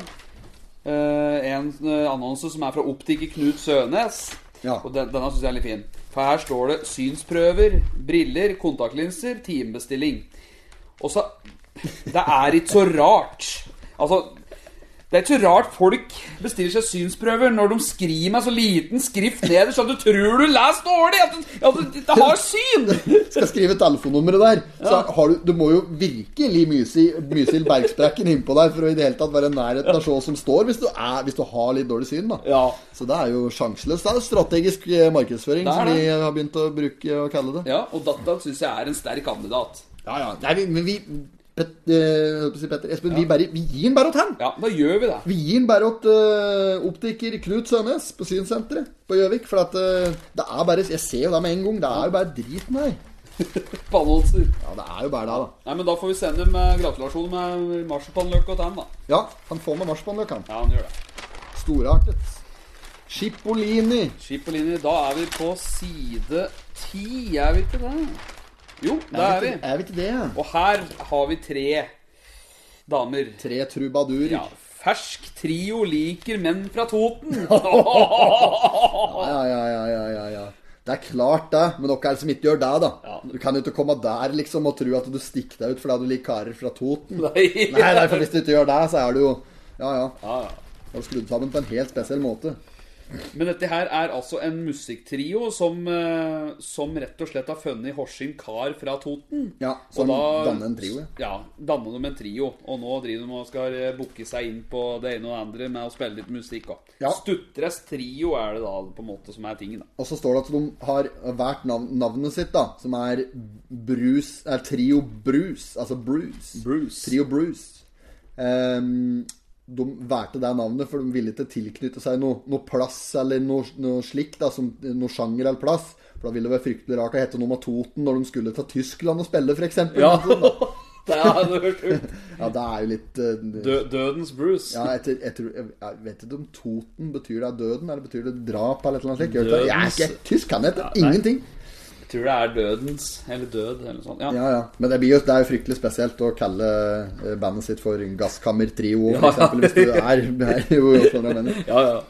S2: Eh, en eh, annonse som er fra optiker Knut Sønes.
S1: Ja.
S2: Og den, denne syns jeg er litt fin. For her står det synsprøver, briller, kontaktlinser, timebestilling. Og så Det er ikke så rart. Altså det er ikke så rart folk bestiller seg synsprøver når de skriver meg så liten skrift nederst at du tror du leser dårlig! At du, at du ikke har syn!
S1: skal skrive telefonnummeret der, så har du, du må jo virkelig mysi- Mysil Bergsprekken innpå deg for å i det hele tatt være i nærheten av å se hva som står, hvis du, er, hvis du har litt dårlig syn. da
S2: Ja.
S1: Så det er jo sjanseløst. Det er strategisk eh, markedsføring,
S2: Det er
S1: som
S2: det.
S1: vi har begynt å bruke og kalle det.
S2: ja og dette syns jeg er en sterk kandidat.
S1: Ja, ja. Nei, vi, men vi Pet, eh, jeg holdt på å si Petter, Espen, vi, bare, vi gir den bare åt han.
S2: Ja, da gjør vi det.
S1: Vi gir den bare åt eh, optiker Knut Sønes på Synssenteret på Gjøvik. For at eh, det er bare Jeg ser jo det med en gang. Det er jo bare driten her.
S2: På annonser.
S1: Ja, det er jo bare det, da.
S2: Nei, men da får vi sende med gratulasjon med marsipanløk og tann, da.
S1: Ja, han får med marsipanløk, han.
S2: Ja, han gjør det.
S1: Storartet. Chipolini.
S2: Skip på linje. Da er vi på side ti, er vi ikke det? Jo, det er vi.
S1: Er vi ikke det?
S2: Og her har vi tre damer.
S1: Tre trubadurer.
S2: Ja,
S1: Ja.
S2: fersk trio liker menn fra Toten.
S1: Ja, ja, ja, ja, ja, Det er klart, det. Men dere er det som ikke gjør det, da. Du kan jo ikke komme der liksom og tro at du stikker deg ut fordi du liker karer fra Toten. Nei,
S2: Nei.
S1: nei, for hvis du ikke gjør det, så er du jo Ja, ja.
S2: Ja, ja.
S1: Du har skrudd sammen på en helt spesiell måte.
S2: Men dette her er altså en musikktrio som, eh, som rett og slett har funnet Horsing kar fra Toten.
S1: Ja, Som
S2: Og da-
S1: danner en trio. ja.
S2: Ja, danner de en trio. Og nå driver de og skal eh, booke seg inn på det ene og det andre med å spille litt musikk. også.
S1: Ja.
S2: Stuttres trio er det da på en måte som er tingen. da.
S1: Og så står det at de har hvert navn, navnet sitt, da, som er Bruce er Trio Bruce. Altså Bruce.
S2: Bruce.
S1: Trio Bruce. Ehm, de valgte det navnet, for de ville ikke tilknytte seg noe, noe plass eller noe, noe slikt. da, som Noe sjanger eller plass. For da ville det være fryktelig rart å hete noe med Toten når de skulle til Tyskland og spille, f.eks.
S2: Ja, det har du hørt ut.
S1: ja, det er jo litt eh,
S2: Dø Dødens Bruce.
S1: ja, etter, etter, jeg vet ikke om Toten betyr det er døden, eller betyr det drap eller et eller annet slikt. Gjør det- Jeg er ikke tysk, kan jeg ikke. Ingenting.
S2: Jeg tror det er Dødens, eller Død, eller noe sånt. Ja.
S1: Ja, ja. Men det, blir jo, det er jo fryktelig spesielt å kalle eh, bandet sitt for Gasskammertrio, for eksempel, hvis du er, er jo sånn jeg mener.
S2: Ja, ja.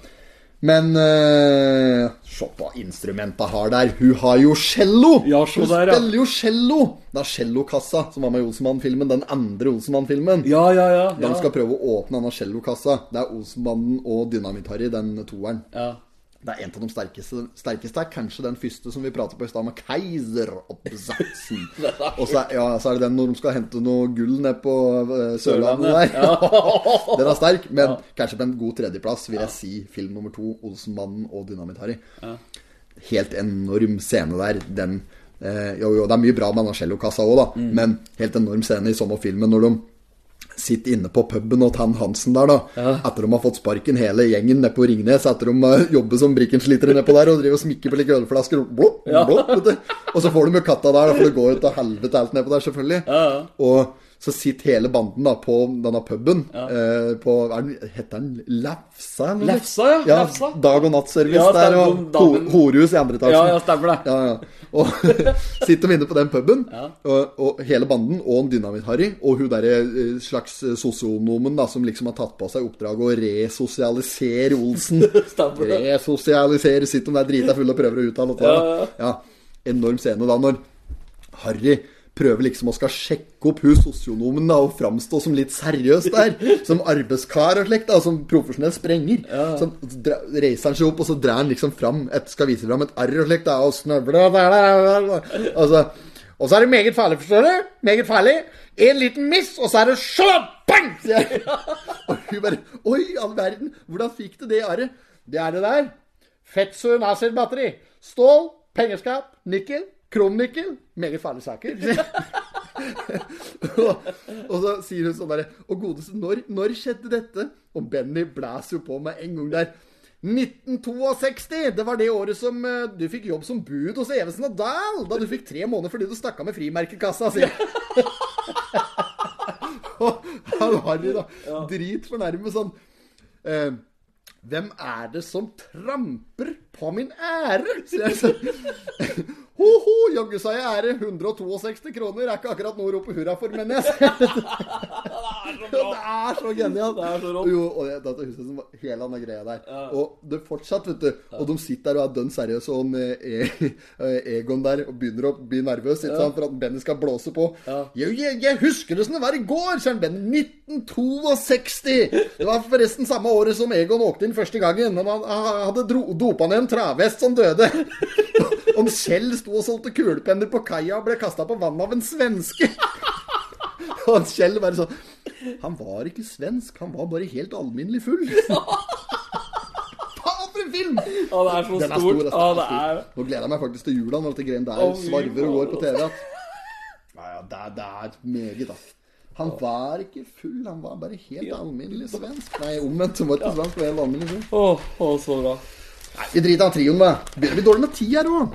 S1: Men eh, se på instrumenta har der. Hun har jo cello!
S2: Ja, se
S1: Hun
S2: der, ja.
S1: spiller jo cello! Det er cellokassa som var med i Olsenmann-filmen. Den andre Olsenmann-filmen.
S2: Ja, ja, ja.
S1: De skal prøve å åpne denne cellokassa. Det er Olsenbanden og Dynamitt-Harry, den toeren.
S2: ja.
S1: Det er en av de sterkeste. sterkeste er kanskje den første som vi prater på i stad, med Keiser Obsatsen. Og så er, ja, så er det den når de skal hente noe gull nede på eh, Sørlandet der. Den er sterk, men kanskje på en god tredjeplass vil jeg si film nummer to, 'Olsenmannen og Dynamitt-Harry'. Helt enorm scene der. Den eh, Jo, jo, det er mye bra med Anachello-kassa òg, da, men helt enorm scene i sommerfilmen når de sitter inne på puben og Tan Hansen der, da. Etter de har fått sparken hele gjengen nede på Ringnes, etter de eh, jobber som brikkenslitere nedpå der og driver og smikker på like ølflasker blå, blå, vet du. Og så får de jo katta der, da, for det går jo til helvete alt nedpå der, selvfølgelig. Og så sitter hele banden da på denne puben eh, på er den, Heter den Lefsa? eller?
S2: Lefsa, ja,
S1: ja.
S2: Lefsa.
S1: Dag og natt-service
S2: Ja,
S1: der,
S2: stemmer,
S1: og
S2: de damen-
S1: ho- horehus i andre etasjen.
S2: Ja, ja, stemmer det.
S1: Ja, ja. Og sitter vi inne på den puben, og, og hele banden, og en Dynamitt-Harry, og hun derre eh, slags eh, sosionomen da, som liksom har tatt på seg oppdraget å resosialisere Olsen.
S2: Stemmer det.
S1: resosialisere, sitter de der drita fulle og prøver å uttale dette.
S2: Ja, ja,
S1: da. Ja, enorm scene da, når Harry prøver liksom å skal sjekke opp hun sosionomen da, og framstå som litt seriøs der. Som arbeidskar og slikt, da, som profesjonell sprenger. sånn, Så dra- reiser han seg opp, og så drar han liksom fram et, skal vise fram et arr og slikt, da, og snøvler og altså, Og så er det meget farlig, forstår du. Meget farlig. En liten miss, og så er det slabang! sier jeg. Og hun bare Oi, all verden, hvordan fikk du det arret? Det er det der. Fetsu nazibatteri. Stål, pengeskap, nikkel, kromnikkel. Meget farlige saker. og, og så sier hun sånn derre Å godeste, når, når skjedde dette? Og Benny blæser jo på med en gang der. 1962! Det var det året som eh, du fikk jobb som bud hos Evensen og Dahl. Da du fikk tre måneder fordi du stakk av med frimerkekassa, sier hun. Og han Harry, da. Drit fornærmet sånn. eh, hvem er det som tramper på min ære? sier jeg så. Ho, ho, jaggu sa jeg ære. 162 kroner er ikke akkurat noe å rope hurra for, men jeg ser det. er så genialt.
S2: Det er så rått.
S1: Jo, og jeg, dette huset som var hele denne greia der. Og det fortsatt, vet du. Og de sitter der og er dønn seriøse, og han, eh, eh, Egon der og begynner å bli nervøs ikke sant, for at Benny skal blåse på. Jeg, jeg, jeg husker det som det var i går, sier han Benny. 1962! Det var forresten samme året som Egon åkte inn første gangen. Men han, han hadde dro, dopa ned en travhest som døde. Om Kjell sto og solgte kulepenner på kaia og ble kasta på vannet av en svenske. Og han Kjell bare sånn Han var ikke svensk, han var bare helt alminnelig full. Faen for en film!
S2: Å, det er så
S1: Den er stor.
S2: stort.
S1: ass. Den
S2: Å, det
S1: er
S2: er
S1: stor. Nå gleder jeg meg faktisk til jula når dette greien der
S2: Å, fy
S1: svarver og går på TV.
S2: faen.
S1: At... Ja, ja, det, er- det er meget, ass. Han var ikke full, han var bare helt alminnelig svensk. Nei, omvendt. Han var ikke svensk, han var helt alminnelig full.
S2: Å, å, så bra.
S1: Nei, vi driter av trioen, da. Begynner vi dårlig med tid her òg?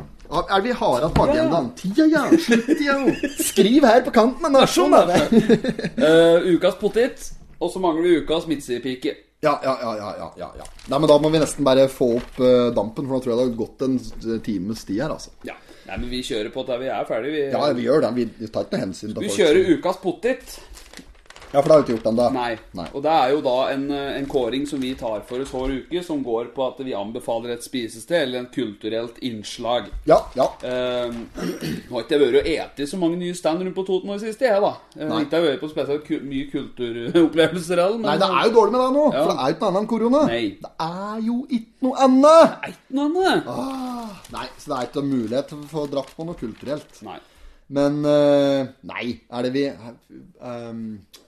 S1: Er vi harde på agendaen? Tida, ja. Slutt tida, jo. Skriv her på kanten, men det er sånn, da.
S2: Eh, ukas potet, og så mangler vi ukas midtsidepike.
S1: Ja, ja, ja, ja, ja, ja, ja. Nei, men da må vi nesten bare få opp eh, dampen, for nå tror jeg det har gått en s- times tid her, altså.
S2: Ja. Nei, men vi kjører på til vi er ferdige. Vi,
S1: Ja, vi gjør det. Vi, vi tar ikke noe hensyn til
S2: vi
S1: folk.
S2: kjører ukas potet.
S1: Ja, for det har vi ikke gjort ennå.
S2: Nei.
S1: Nei.
S2: Og det er jo da en, eh, en kåring som vi tar for oss hver uke, som går på at vi anbefaler et spisested eller en kulturelt innslag.
S1: Ja, ja.
S2: Uh, har ikke jeg vært og ete så mange nye stand rundt på Toten i det siste, jeg, da. Eh,
S1: Nei.
S2: ikke jeg vært på spesielt ku mye kulturopplevelser eller men
S1: Nei, det er jo dårlig med deg nå,
S2: Ja.
S1: for det er jo ikke noe annet enn korona.
S2: Nei.
S1: Det er jo ikke noe annet!
S2: noe annet.
S1: Ah, nei, så det er ikke mulighet til å få dratt på noe kulturelt.
S2: Nei.
S1: Men eh, Nei, er det vi ehm,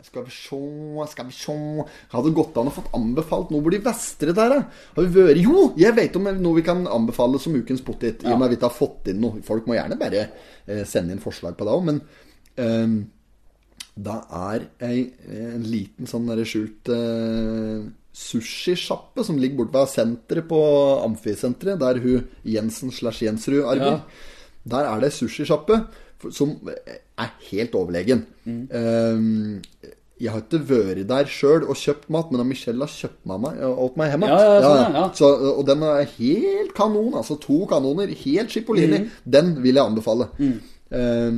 S1: Skal vi sjå Skal vi sjå Hadde det gått an å fått anbefalt noe hvor de vestre der er? Har vi vært Jo, jeg vet om noe vi kan anbefale som ukens potet. I og med at vi ikke har fått inn noe. Folk må gjerne bare eh, sende inn forslag på det òg, men ehm, det er ei, en liten sånn der skjult eh, sushisjappe som ligger borte ved senteret på Amfisenteret, der hun Jensen slash Jensrud arbeider. Der er det ei sushisjappe for- som er helt overlegen.
S2: Mm.
S1: Eh, jeg har ikke vært der sjøl og kjøpt mat, men Michelle har kjøpt meg meg, åt meg hjemme.
S2: Ja, ja, sånn, ja.
S1: Så, eh, og den er helt kanon, altså. To kanoner, helt Chipolini.
S2: Mm.
S1: Den vil jeg anbefale. Eh,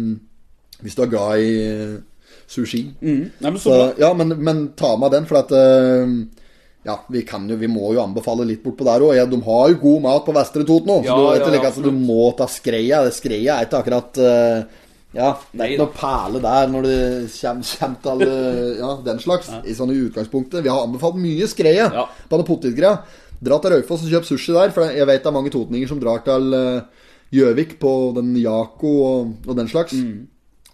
S1: hvis du er glad i eh, sushi.
S2: Nei, men så,
S1: Så,
S2: bra.
S1: ja, men, men ta med den, for at eh, Ja, vi kan jo Vi må jo anbefale litt bortpå der òg. Ja, de har jo god mat på Vestre Toten òg, så
S2: Ja,
S1: du, vet
S2: ja,
S1: jo like, at
S2: absolutt.
S1: du må ta skreia. Skreia er ikke akkurat eh, ja, det er
S2: Nei
S1: ikke noe perle der når det kommer, til alle ja, den slags. I sånne utgangspunktet. Vi har anbefalt mye skreie
S2: Ja.
S1: på den potetgreia. Dra til Raufoss og kjøp sushi der, for jeg vet det er mange totninger som drar til eh, Gjøvik på den Jako og, og den slags.
S2: Mm.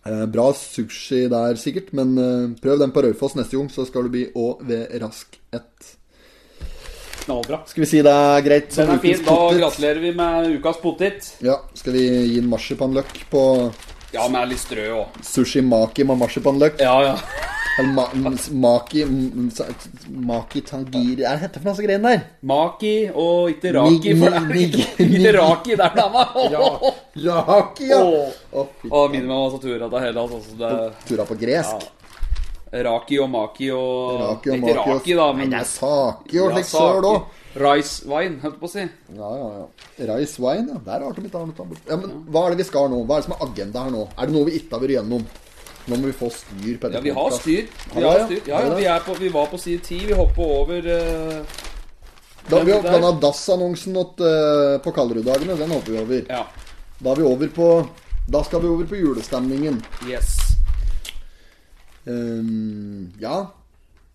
S1: Eh, bra sushi der, sikkert, men eh, prøv den på Raufoss neste gang, så skal du bli å ved rask ett.
S2: Knallbra.
S1: Skal vi si det er greit? som
S2: Den er fin.
S1: ukens
S2: Da
S1: potet?
S2: gratulerer vi med ukas potet.
S1: Ja, skal vi gi en marsipanløk på
S2: Ja, med litt strø òg.
S1: sushi maki med marsipanløk?
S2: Ja, ja.
S1: Eller ma m- maki m- sa- Maki tangiri Hva heter det for noe så greiene der?
S2: Maki og ikke raki,
S1: Ni-
S2: for det er
S1: ni-
S2: ikke-
S1: ni-
S2: ikke raki der, da.
S1: Ra- Raki, ja!
S2: Åh.
S1: Å, fy
S2: Og minimum av satura av hele, altså. så Det
S1: Tura på gresk.
S2: er raki og maki og
S1: Raki og
S2: Ikke
S1: maki og-
S2: raki, da, men altså,
S1: Det er saki og slik søl òg.
S2: Rice wine, holdt jeg på å si.
S1: Ja, ja, ja. Rice wine, ja. Der har de litt annet. anbud. Ja, men hva er det vi skal nå? Hva er det som er agenda her nå? Er det noe vi ikke har vært gjennom? Nå må vi få styr på dette.
S2: Ja, vi har
S1: podcast.
S2: styr. Vi
S1: Ja, ja.
S2: har styr. Ja,
S1: Ja,
S2: ja,
S1: ja.
S2: vi, er på, vi var på side 10. Vi hoppa over eh,
S1: Da har vi jo
S2: Der.
S1: denne DAS-annonsen åt, eh, på Kallerud-dagene. Den hopper vi over.
S2: Ja.
S1: Da er vi over på Da skal vi over på julestemningen.
S2: Yes.
S1: Ehm, ja.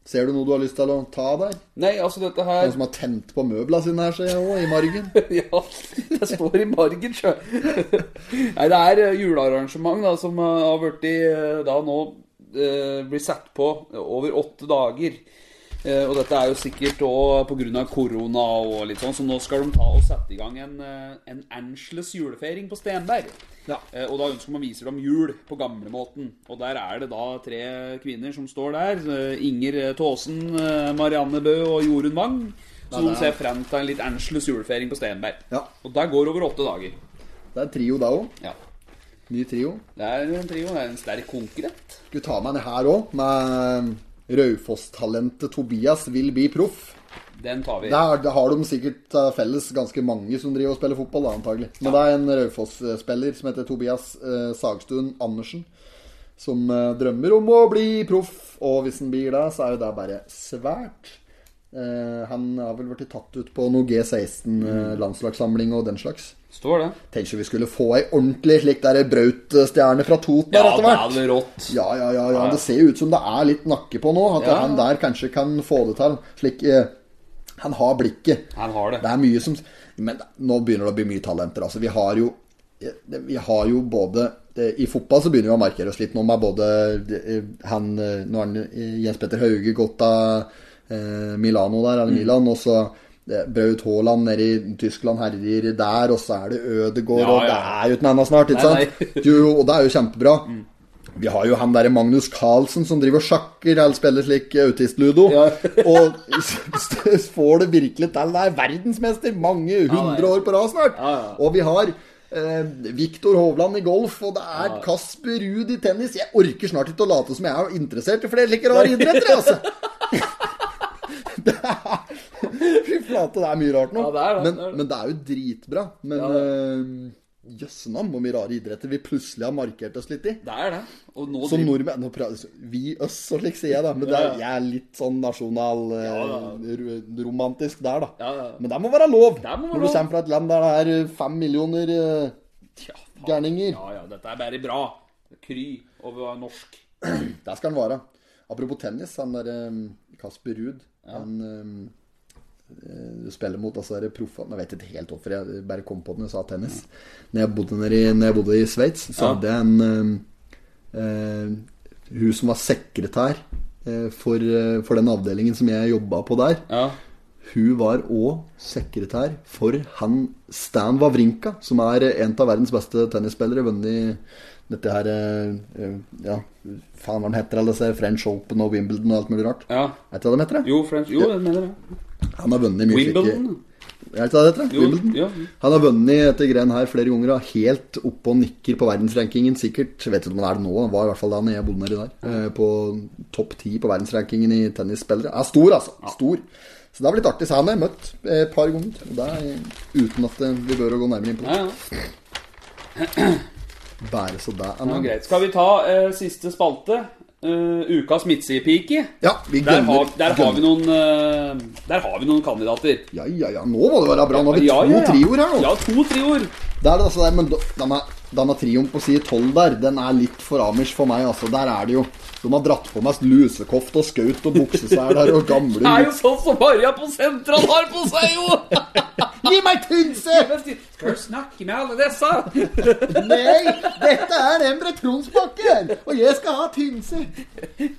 S1: Ser du noe du har lyst til å ta der?
S2: Nei, altså, dette
S1: Noen
S2: her
S1: som har tent på møbla sine her, ser jeg òg, i margen.
S2: Ja, det står i margen, sjø. Nei, det er eh, julearrangement da, som eh, har blitt eh, da nå eh, blir satt på over åtte dager. Eh, og dette er jo sikkert òg pga. korona og litt sånn, så nå skal de ta og sette i gang en, eh, en Angeles julefeiring på Stenberg. Eh, og da ønsker man viser dem jul på gamlemåten. Og der er det da tre kvinner som står der. eh, Inger eh, Taasen, eh, Marianne Bø og Jorunn Wang. Så de Sånn ser frem til en litt Angeles julefeiring på Stenberg.
S1: Ja.
S2: Og der går over åtte dager.
S1: Det er en trio da òg.
S2: Ja.
S1: Ny trio.
S2: Det er en trio, det er en sterk konkurrent.
S1: Skal vi ta med en her òg, med Raufoss-talentet Tobias vil bli proff.
S2: Den tar vi.
S1: Der har de sikkert eh, felles ganske mange som driver og spiller fotball, da, antagelig. Men det er en Raufoss-spiller som heter Tobias eh, Sagstuen Andersen, som eh, drømmer om å bli proff. Og hvis han blir det, så er jo det bare svært. Eh, han har vel blitt tatt ut på noe
S2: Mm.
S1: G16-landslagssamling og den slags.
S2: Står det.
S1: Tenk om vi skulle få ei ordentlig slik der Braut-stjerne fra Toten her
S2: Ja,
S1: etter
S2: det
S1: hvert.
S2: hadde vært rått.
S1: Ja, ja, ja, ja. Det ser jo ut som det er litt nakke på nå. At
S2: Ja.
S1: han der kanskje kan få det til. Slik eh, Han har blikket.
S2: Han har det.
S1: Det er mye som Men nå begynner det å bli mye talenter. Altså, vi har jo eh, vi har jo både eh, I fotball så begynner vi å markere oss litt nå med både eh, han eh, Nå har han, eh, Jens Petter Hauge gått av eh, Milano der,
S2: Mm.
S1: eller Milan, og så eh, Braut Haaland nede i Tyskland herjer der, og så er det Ødegård,
S2: Ja,
S1: og det
S2: ja.
S1: er jo ikke noe annet snart, ikke
S2: Nei, Mm.
S1: sant? Jo, jo, og det er jo kjempebra. Vi har jo han derre Magnus Carlsen som driver og sjakker eller spiller slik eh, autistludo. og s- s- får det virkelig til. Det er verdensmester mange hundre år på rad snart. Og vi har eh, Viktor Hovland i golf, og det er Kasper Ruud i tennis. Jeg orker snart ikke å late som jeg er interessert i flere like rare idretter, altså. Det er- Fy flate, det er mye rart nå.
S2: Ja, det er det,
S1: men,
S2: det er det.
S1: men det er jo dritbra. Men eh, jøssenavn, hvor mye rare idretter vi plutselig har markert oss litt i.
S2: Det er det. Og nå
S1: Som
S2: driver-
S1: nordmenn nå prater, Vi oss og slik sier jeg, da. Men det er, jeg er litt sånn nasjonal eh, ro- romantisk der, da.
S2: Ja, ja.
S1: Men det må være lov!
S2: Det må
S1: Når
S2: være
S1: du
S2: lov.
S1: kommer fra et land der det er fem millioner eh,
S2: Tja, faen.
S1: gærninger.
S2: Ja, ja, dette er bare bra. Kry over norsk.
S1: Der skal han være. Apropos tennis, han derre Kasper Ruud Han eh, eh, spiller mot altså, dere proffene Jeg vet ikke helt hvorfor jeg bare kom på det når jeg sa tennis. Når jeg bodde, nede i- når jeg bodde i Sveits, så
S2: Ja.
S1: hadde jeg en eh, eh, Hun som var sekretær eh, for, eh, for den avdelingen som jeg jobba på der.
S2: Ja.
S1: Hun var òg sekretær for han Stan Wawrinka, som er en av verdens beste tennisspillere. Vunnet dette her eh, eh, Ja, faen hva han heter, alle disse French Open og Wimbledon og alt mulig rart.
S2: ja.
S1: Er ikke det de heter? det?
S2: Jo, French Jo, jeg mener det.
S1: Han har vunnet mye
S2: Wimbledon?
S1: slike- Er ikke det det heter? det?
S2: Jo,
S1: Wimbledon.
S2: ja.
S1: Han har vunnet dette greien her flere ganger og er helt oppe og nikker på verdensrankingen. Sikkert, jeg vet ikke om han er det nå, han var i hvert fall da når jeg bodde nedi der. eh, På topp ti på verdensrankingen i tennisspillere. Er stor, altså. Stor. Så det har blitt artig. Så han har jeg møtt eh, et par ganger. Og det er uten at eh, vi bør å gå nærmere inn på
S2: Ja,
S1: det.
S2: ja.
S1: Bare så det er
S2: ja,
S1: nevnt.
S2: greit. Skal vi ta eh, siste spalte? Eh, ukas midtsidepike.
S1: Ja, vi
S2: Der,
S1: gønner.
S2: har, der, har vi
S1: gønner.
S2: noen, eh, der har vi noen kandidater.
S1: Ja, ja, ja. Nå må det være bra. Nå har vi to trioer her nå.
S2: Ja, to trioer.
S1: Det er det altså der, men da- de er Danna Trium på side 12 der, den er litt for Amish for meg, altså. Der er det jo De har dratt på meg lusekofte og skaut og buksesæler og gamle
S2: Det er jo sånn som Maria på sentral har på seg, jo!
S1: Gi meg Tynse!
S2: Skal du snakke med alle disse?
S1: Nei, dette er Emre Tronsbakken, og jeg skal ha Tynse.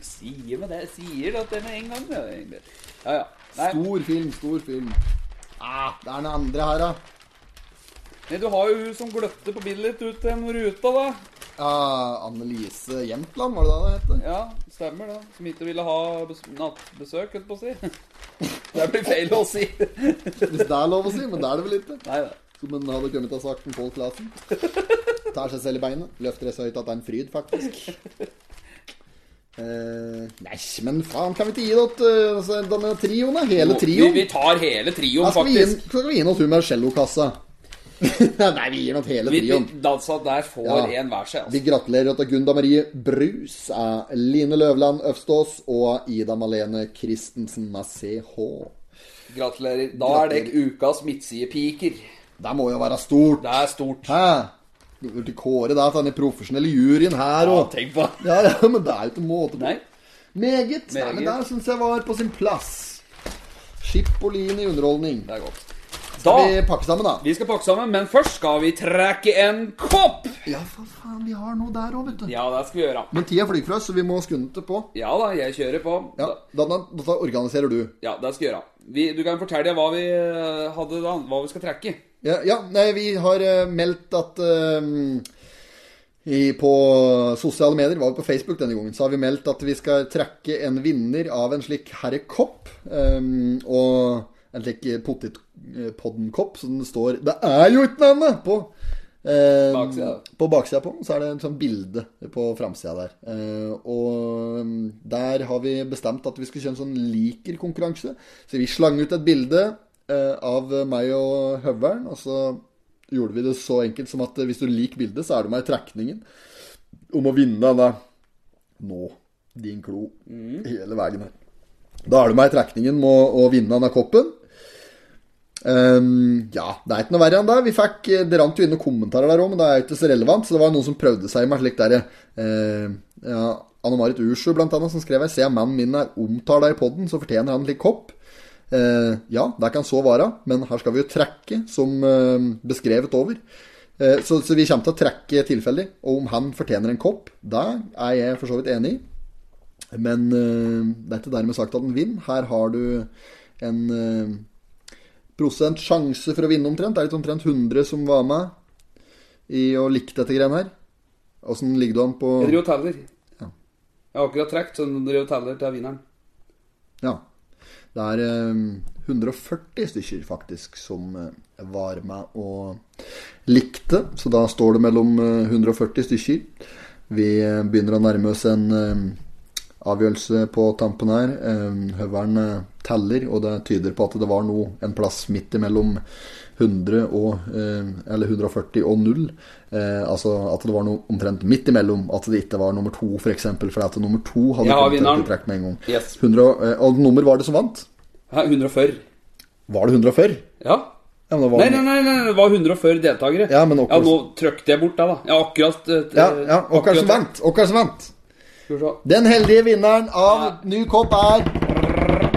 S2: Sier med det, sier det at det med en gang. det er egentlig. Ja, ja. Nei,
S1: Stor film, stor film. Ah, det er den andre her, da.
S2: men du har jo hun som gløtter på bildet ditt ut til en ruta, da.
S1: Ah, Annelise Jämtland, var det da det het?
S2: Ja, stemmer det. Som ikke ville ha bes nattbesøk, holdt på å si. Det blir feil å si.
S1: Hvis det er lov å si, men det er det vel ikke.
S2: Nei da.
S1: Som en hadde kommet til å ha sagt om Pål Clasen. Tar seg selv i beinet. Løfter det så høyt at det er en fryd, faktisk. Eh, nei, men faen, kan vi ikke gi det til eh, altså, denne trioen, da? Hele trioen?
S2: Vi, vi tar hele trioen,
S1: Da skal vi gi inn-
S2: faktisk.
S1: skal vi gi inn oss hun med cellokassa. nei, vi gir nok hele
S2: Vi, vi
S1: trioen.
S2: dansa der får
S1: Ja.
S2: en hver seg.
S1: Vi
S2: Altså.
S1: gratulerer til Gunda Marie Brus, eh, Line Løvland Øvstås og Ida Malene Christensen med CH.
S2: Gratulerer. Da er det ukas midtsidepiker.
S1: Det må jo være stort.
S2: Det er stort.
S1: Hæ? Går til Kåre der, til den profesjonelle juryen her
S2: Ja,
S1: og
S2: tenk på det.
S1: ja, ja, men det er jo ikke måte på.
S2: Nei.
S1: Meget. Nei, men
S2: Meget.
S1: der syns jeg var på sin plass. Chipolin i underholdning.
S2: Det er godt. Da,
S1: Skal vi pakke sammen, da?
S2: vi skal pakke sammen, men først skal vi trekke en kopp!
S1: Ja, for faen, vi har noe der òg, vet du.
S2: Ja, det skal vi gjøre.
S1: Men tida flyr fra oss, så vi må skunde det på.
S2: Ja da, jeg kjører på.
S1: Ja,
S2: Da-
S1: da, da, da organiserer du.
S2: Ja, det skal jeg gjøre. Vi, du kan fortelle deg hva vi eh, hadde da, hva vi skal trekke.
S1: Ja, ja nei, vi har eh, meldt at eh, i, På sosiale medier, var vi på Facebook denne gangen, så har vi meldt at vi skal trekke en vinner av en slik herrekopp. eh, og en slik potetpoddenkopp som det står Det er jo ikke noe annet på! eh,
S2: Baksida.
S1: På baksida på den så er det et sånt bilde på framsida der. Eh, og mm, der har vi bestemt at vi skal kjøre en sånn liker-konkurranse. Så vi slang ut et bilde eh, av meg og høvelen, og så gjorde vi det så enkelt som at eh, hvis du liker bildet, så er du med i trekningen om å vinne den der. Nå, din klo, hele veien her. Da er du med i trekningen med å, å vinne den der koppen. Ehm, ja, det er ikke noe verre enn det. Vi fikk, eh, det rant jo inn noen kommentarer der òg, men det er jo ikke så relevant. Så det var noen som prøvde seg med slik derre eh, ja, Anne-Marit Ursu, blant annet, som skrev her. Se, mannen min er omtalt i poden, så fortjener han en slik kopp. Eh, ja, det kan så være, men her skal vi jo trekke, som eh, beskrevet over. Eh, så, så vi kommer til å trekke tilfeldig. Og om han fortjener en kopp, det er jeg for så vidt enig i. Men eh, det er ikke dermed sagt at den vinner. Her har du en eh, prosent sjanse for å vinne omtrent. Det er litt omtrent 100 som var med i å like dette greiene her. Åssen ligger du an på
S2: Jeg driver og teller.
S1: Ja.
S2: Jeg har akkurat trukket, så jeg driver og teller til vinneren.
S1: Ja. Det er eh, 140 stykker faktisk som eh, var med og likte, så da står det mellom eh, 140 stykker. Vi eh, begynner å nærme oss en eh, avgjørelse på tampen her. Eh, Høveren eh, teller, og det tyder på at det var noe en plass midt imellom 100 og eh, Eller 140 og 0. Eh, altså at det var noe omtrent midt imellom. At det ikke var nummer to, f.eks. For eksempel, fordi at nummer to hadde
S2: Jeg har
S1: kommet
S2: vinneren.
S1: til trekk med en gang.
S2: Yes.
S1: 100, og- eh, og nummer var det som vant?
S2: Hæ, 140.
S1: Var det 140?
S2: Ja.
S1: Ja, men det var
S2: Nei, nei, nei, nei, det var 140 deltakere.
S1: Ja, men akkurat-
S2: nå trykte jeg bort deg, da. Jeg har akkurat eh,
S1: Ja, ja, og hva
S2: akkurat-
S1: som vant? Og hva som vant?
S2: Skal vi se.
S1: Den heldige vinneren av ny kopp er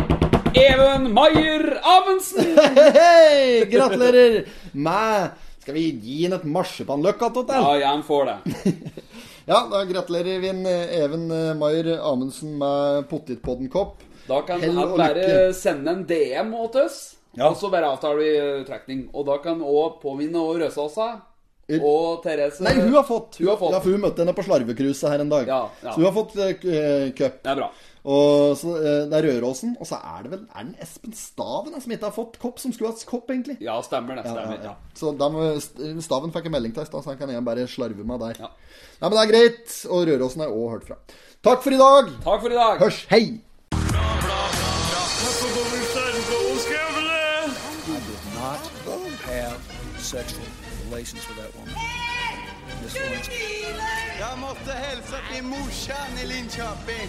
S2: Even Maier Amundsen!
S1: Hei, gratulerer med Skal vi gi henne et marsipanløk
S2: Ja,
S1: attåtil?
S2: jeg får det.
S1: Ja, da gratulerer vi en, eh, Even eh, Maier Amundsen med potetpoddenkopp.
S2: Da kan
S1: Hell
S2: han
S1: og
S2: bare
S1: lykke.
S2: sende en DM mot oss,
S1: Ja.
S2: og så bare avtaler vi eh, trekning. Og da kan òg påminne og Røsåsa og Therese
S1: Nei, hun har fått.
S2: Hun har fått.
S1: Ja, for hun møtte henne på slarvekruset her en dag.
S2: Ja, ja.
S1: Så hun har fått eh, k- eh, cup.
S2: Det er bra.
S1: Og så eh, Det er Røråsen, og så er det vel Er den Espen Staven eh, som ikke har fått kopp, som skulle hatt kopp, egentlig?
S2: Ja, stemmer det. Stemmer, ja.
S1: Så da må, Staven fikk en melding til oss, da, så han kan igjen bare slarve meg der.
S2: Ja.
S1: Nei, men det er greit. Og Røråsen er òg hørt fra. Takk for i dag.
S2: Takk for i dag.
S1: Hørs. Hei.
S3: Not have sexual relations with that woman. Miss Lewinsky.
S4: Jag måste hälsa till morsan i Linköping.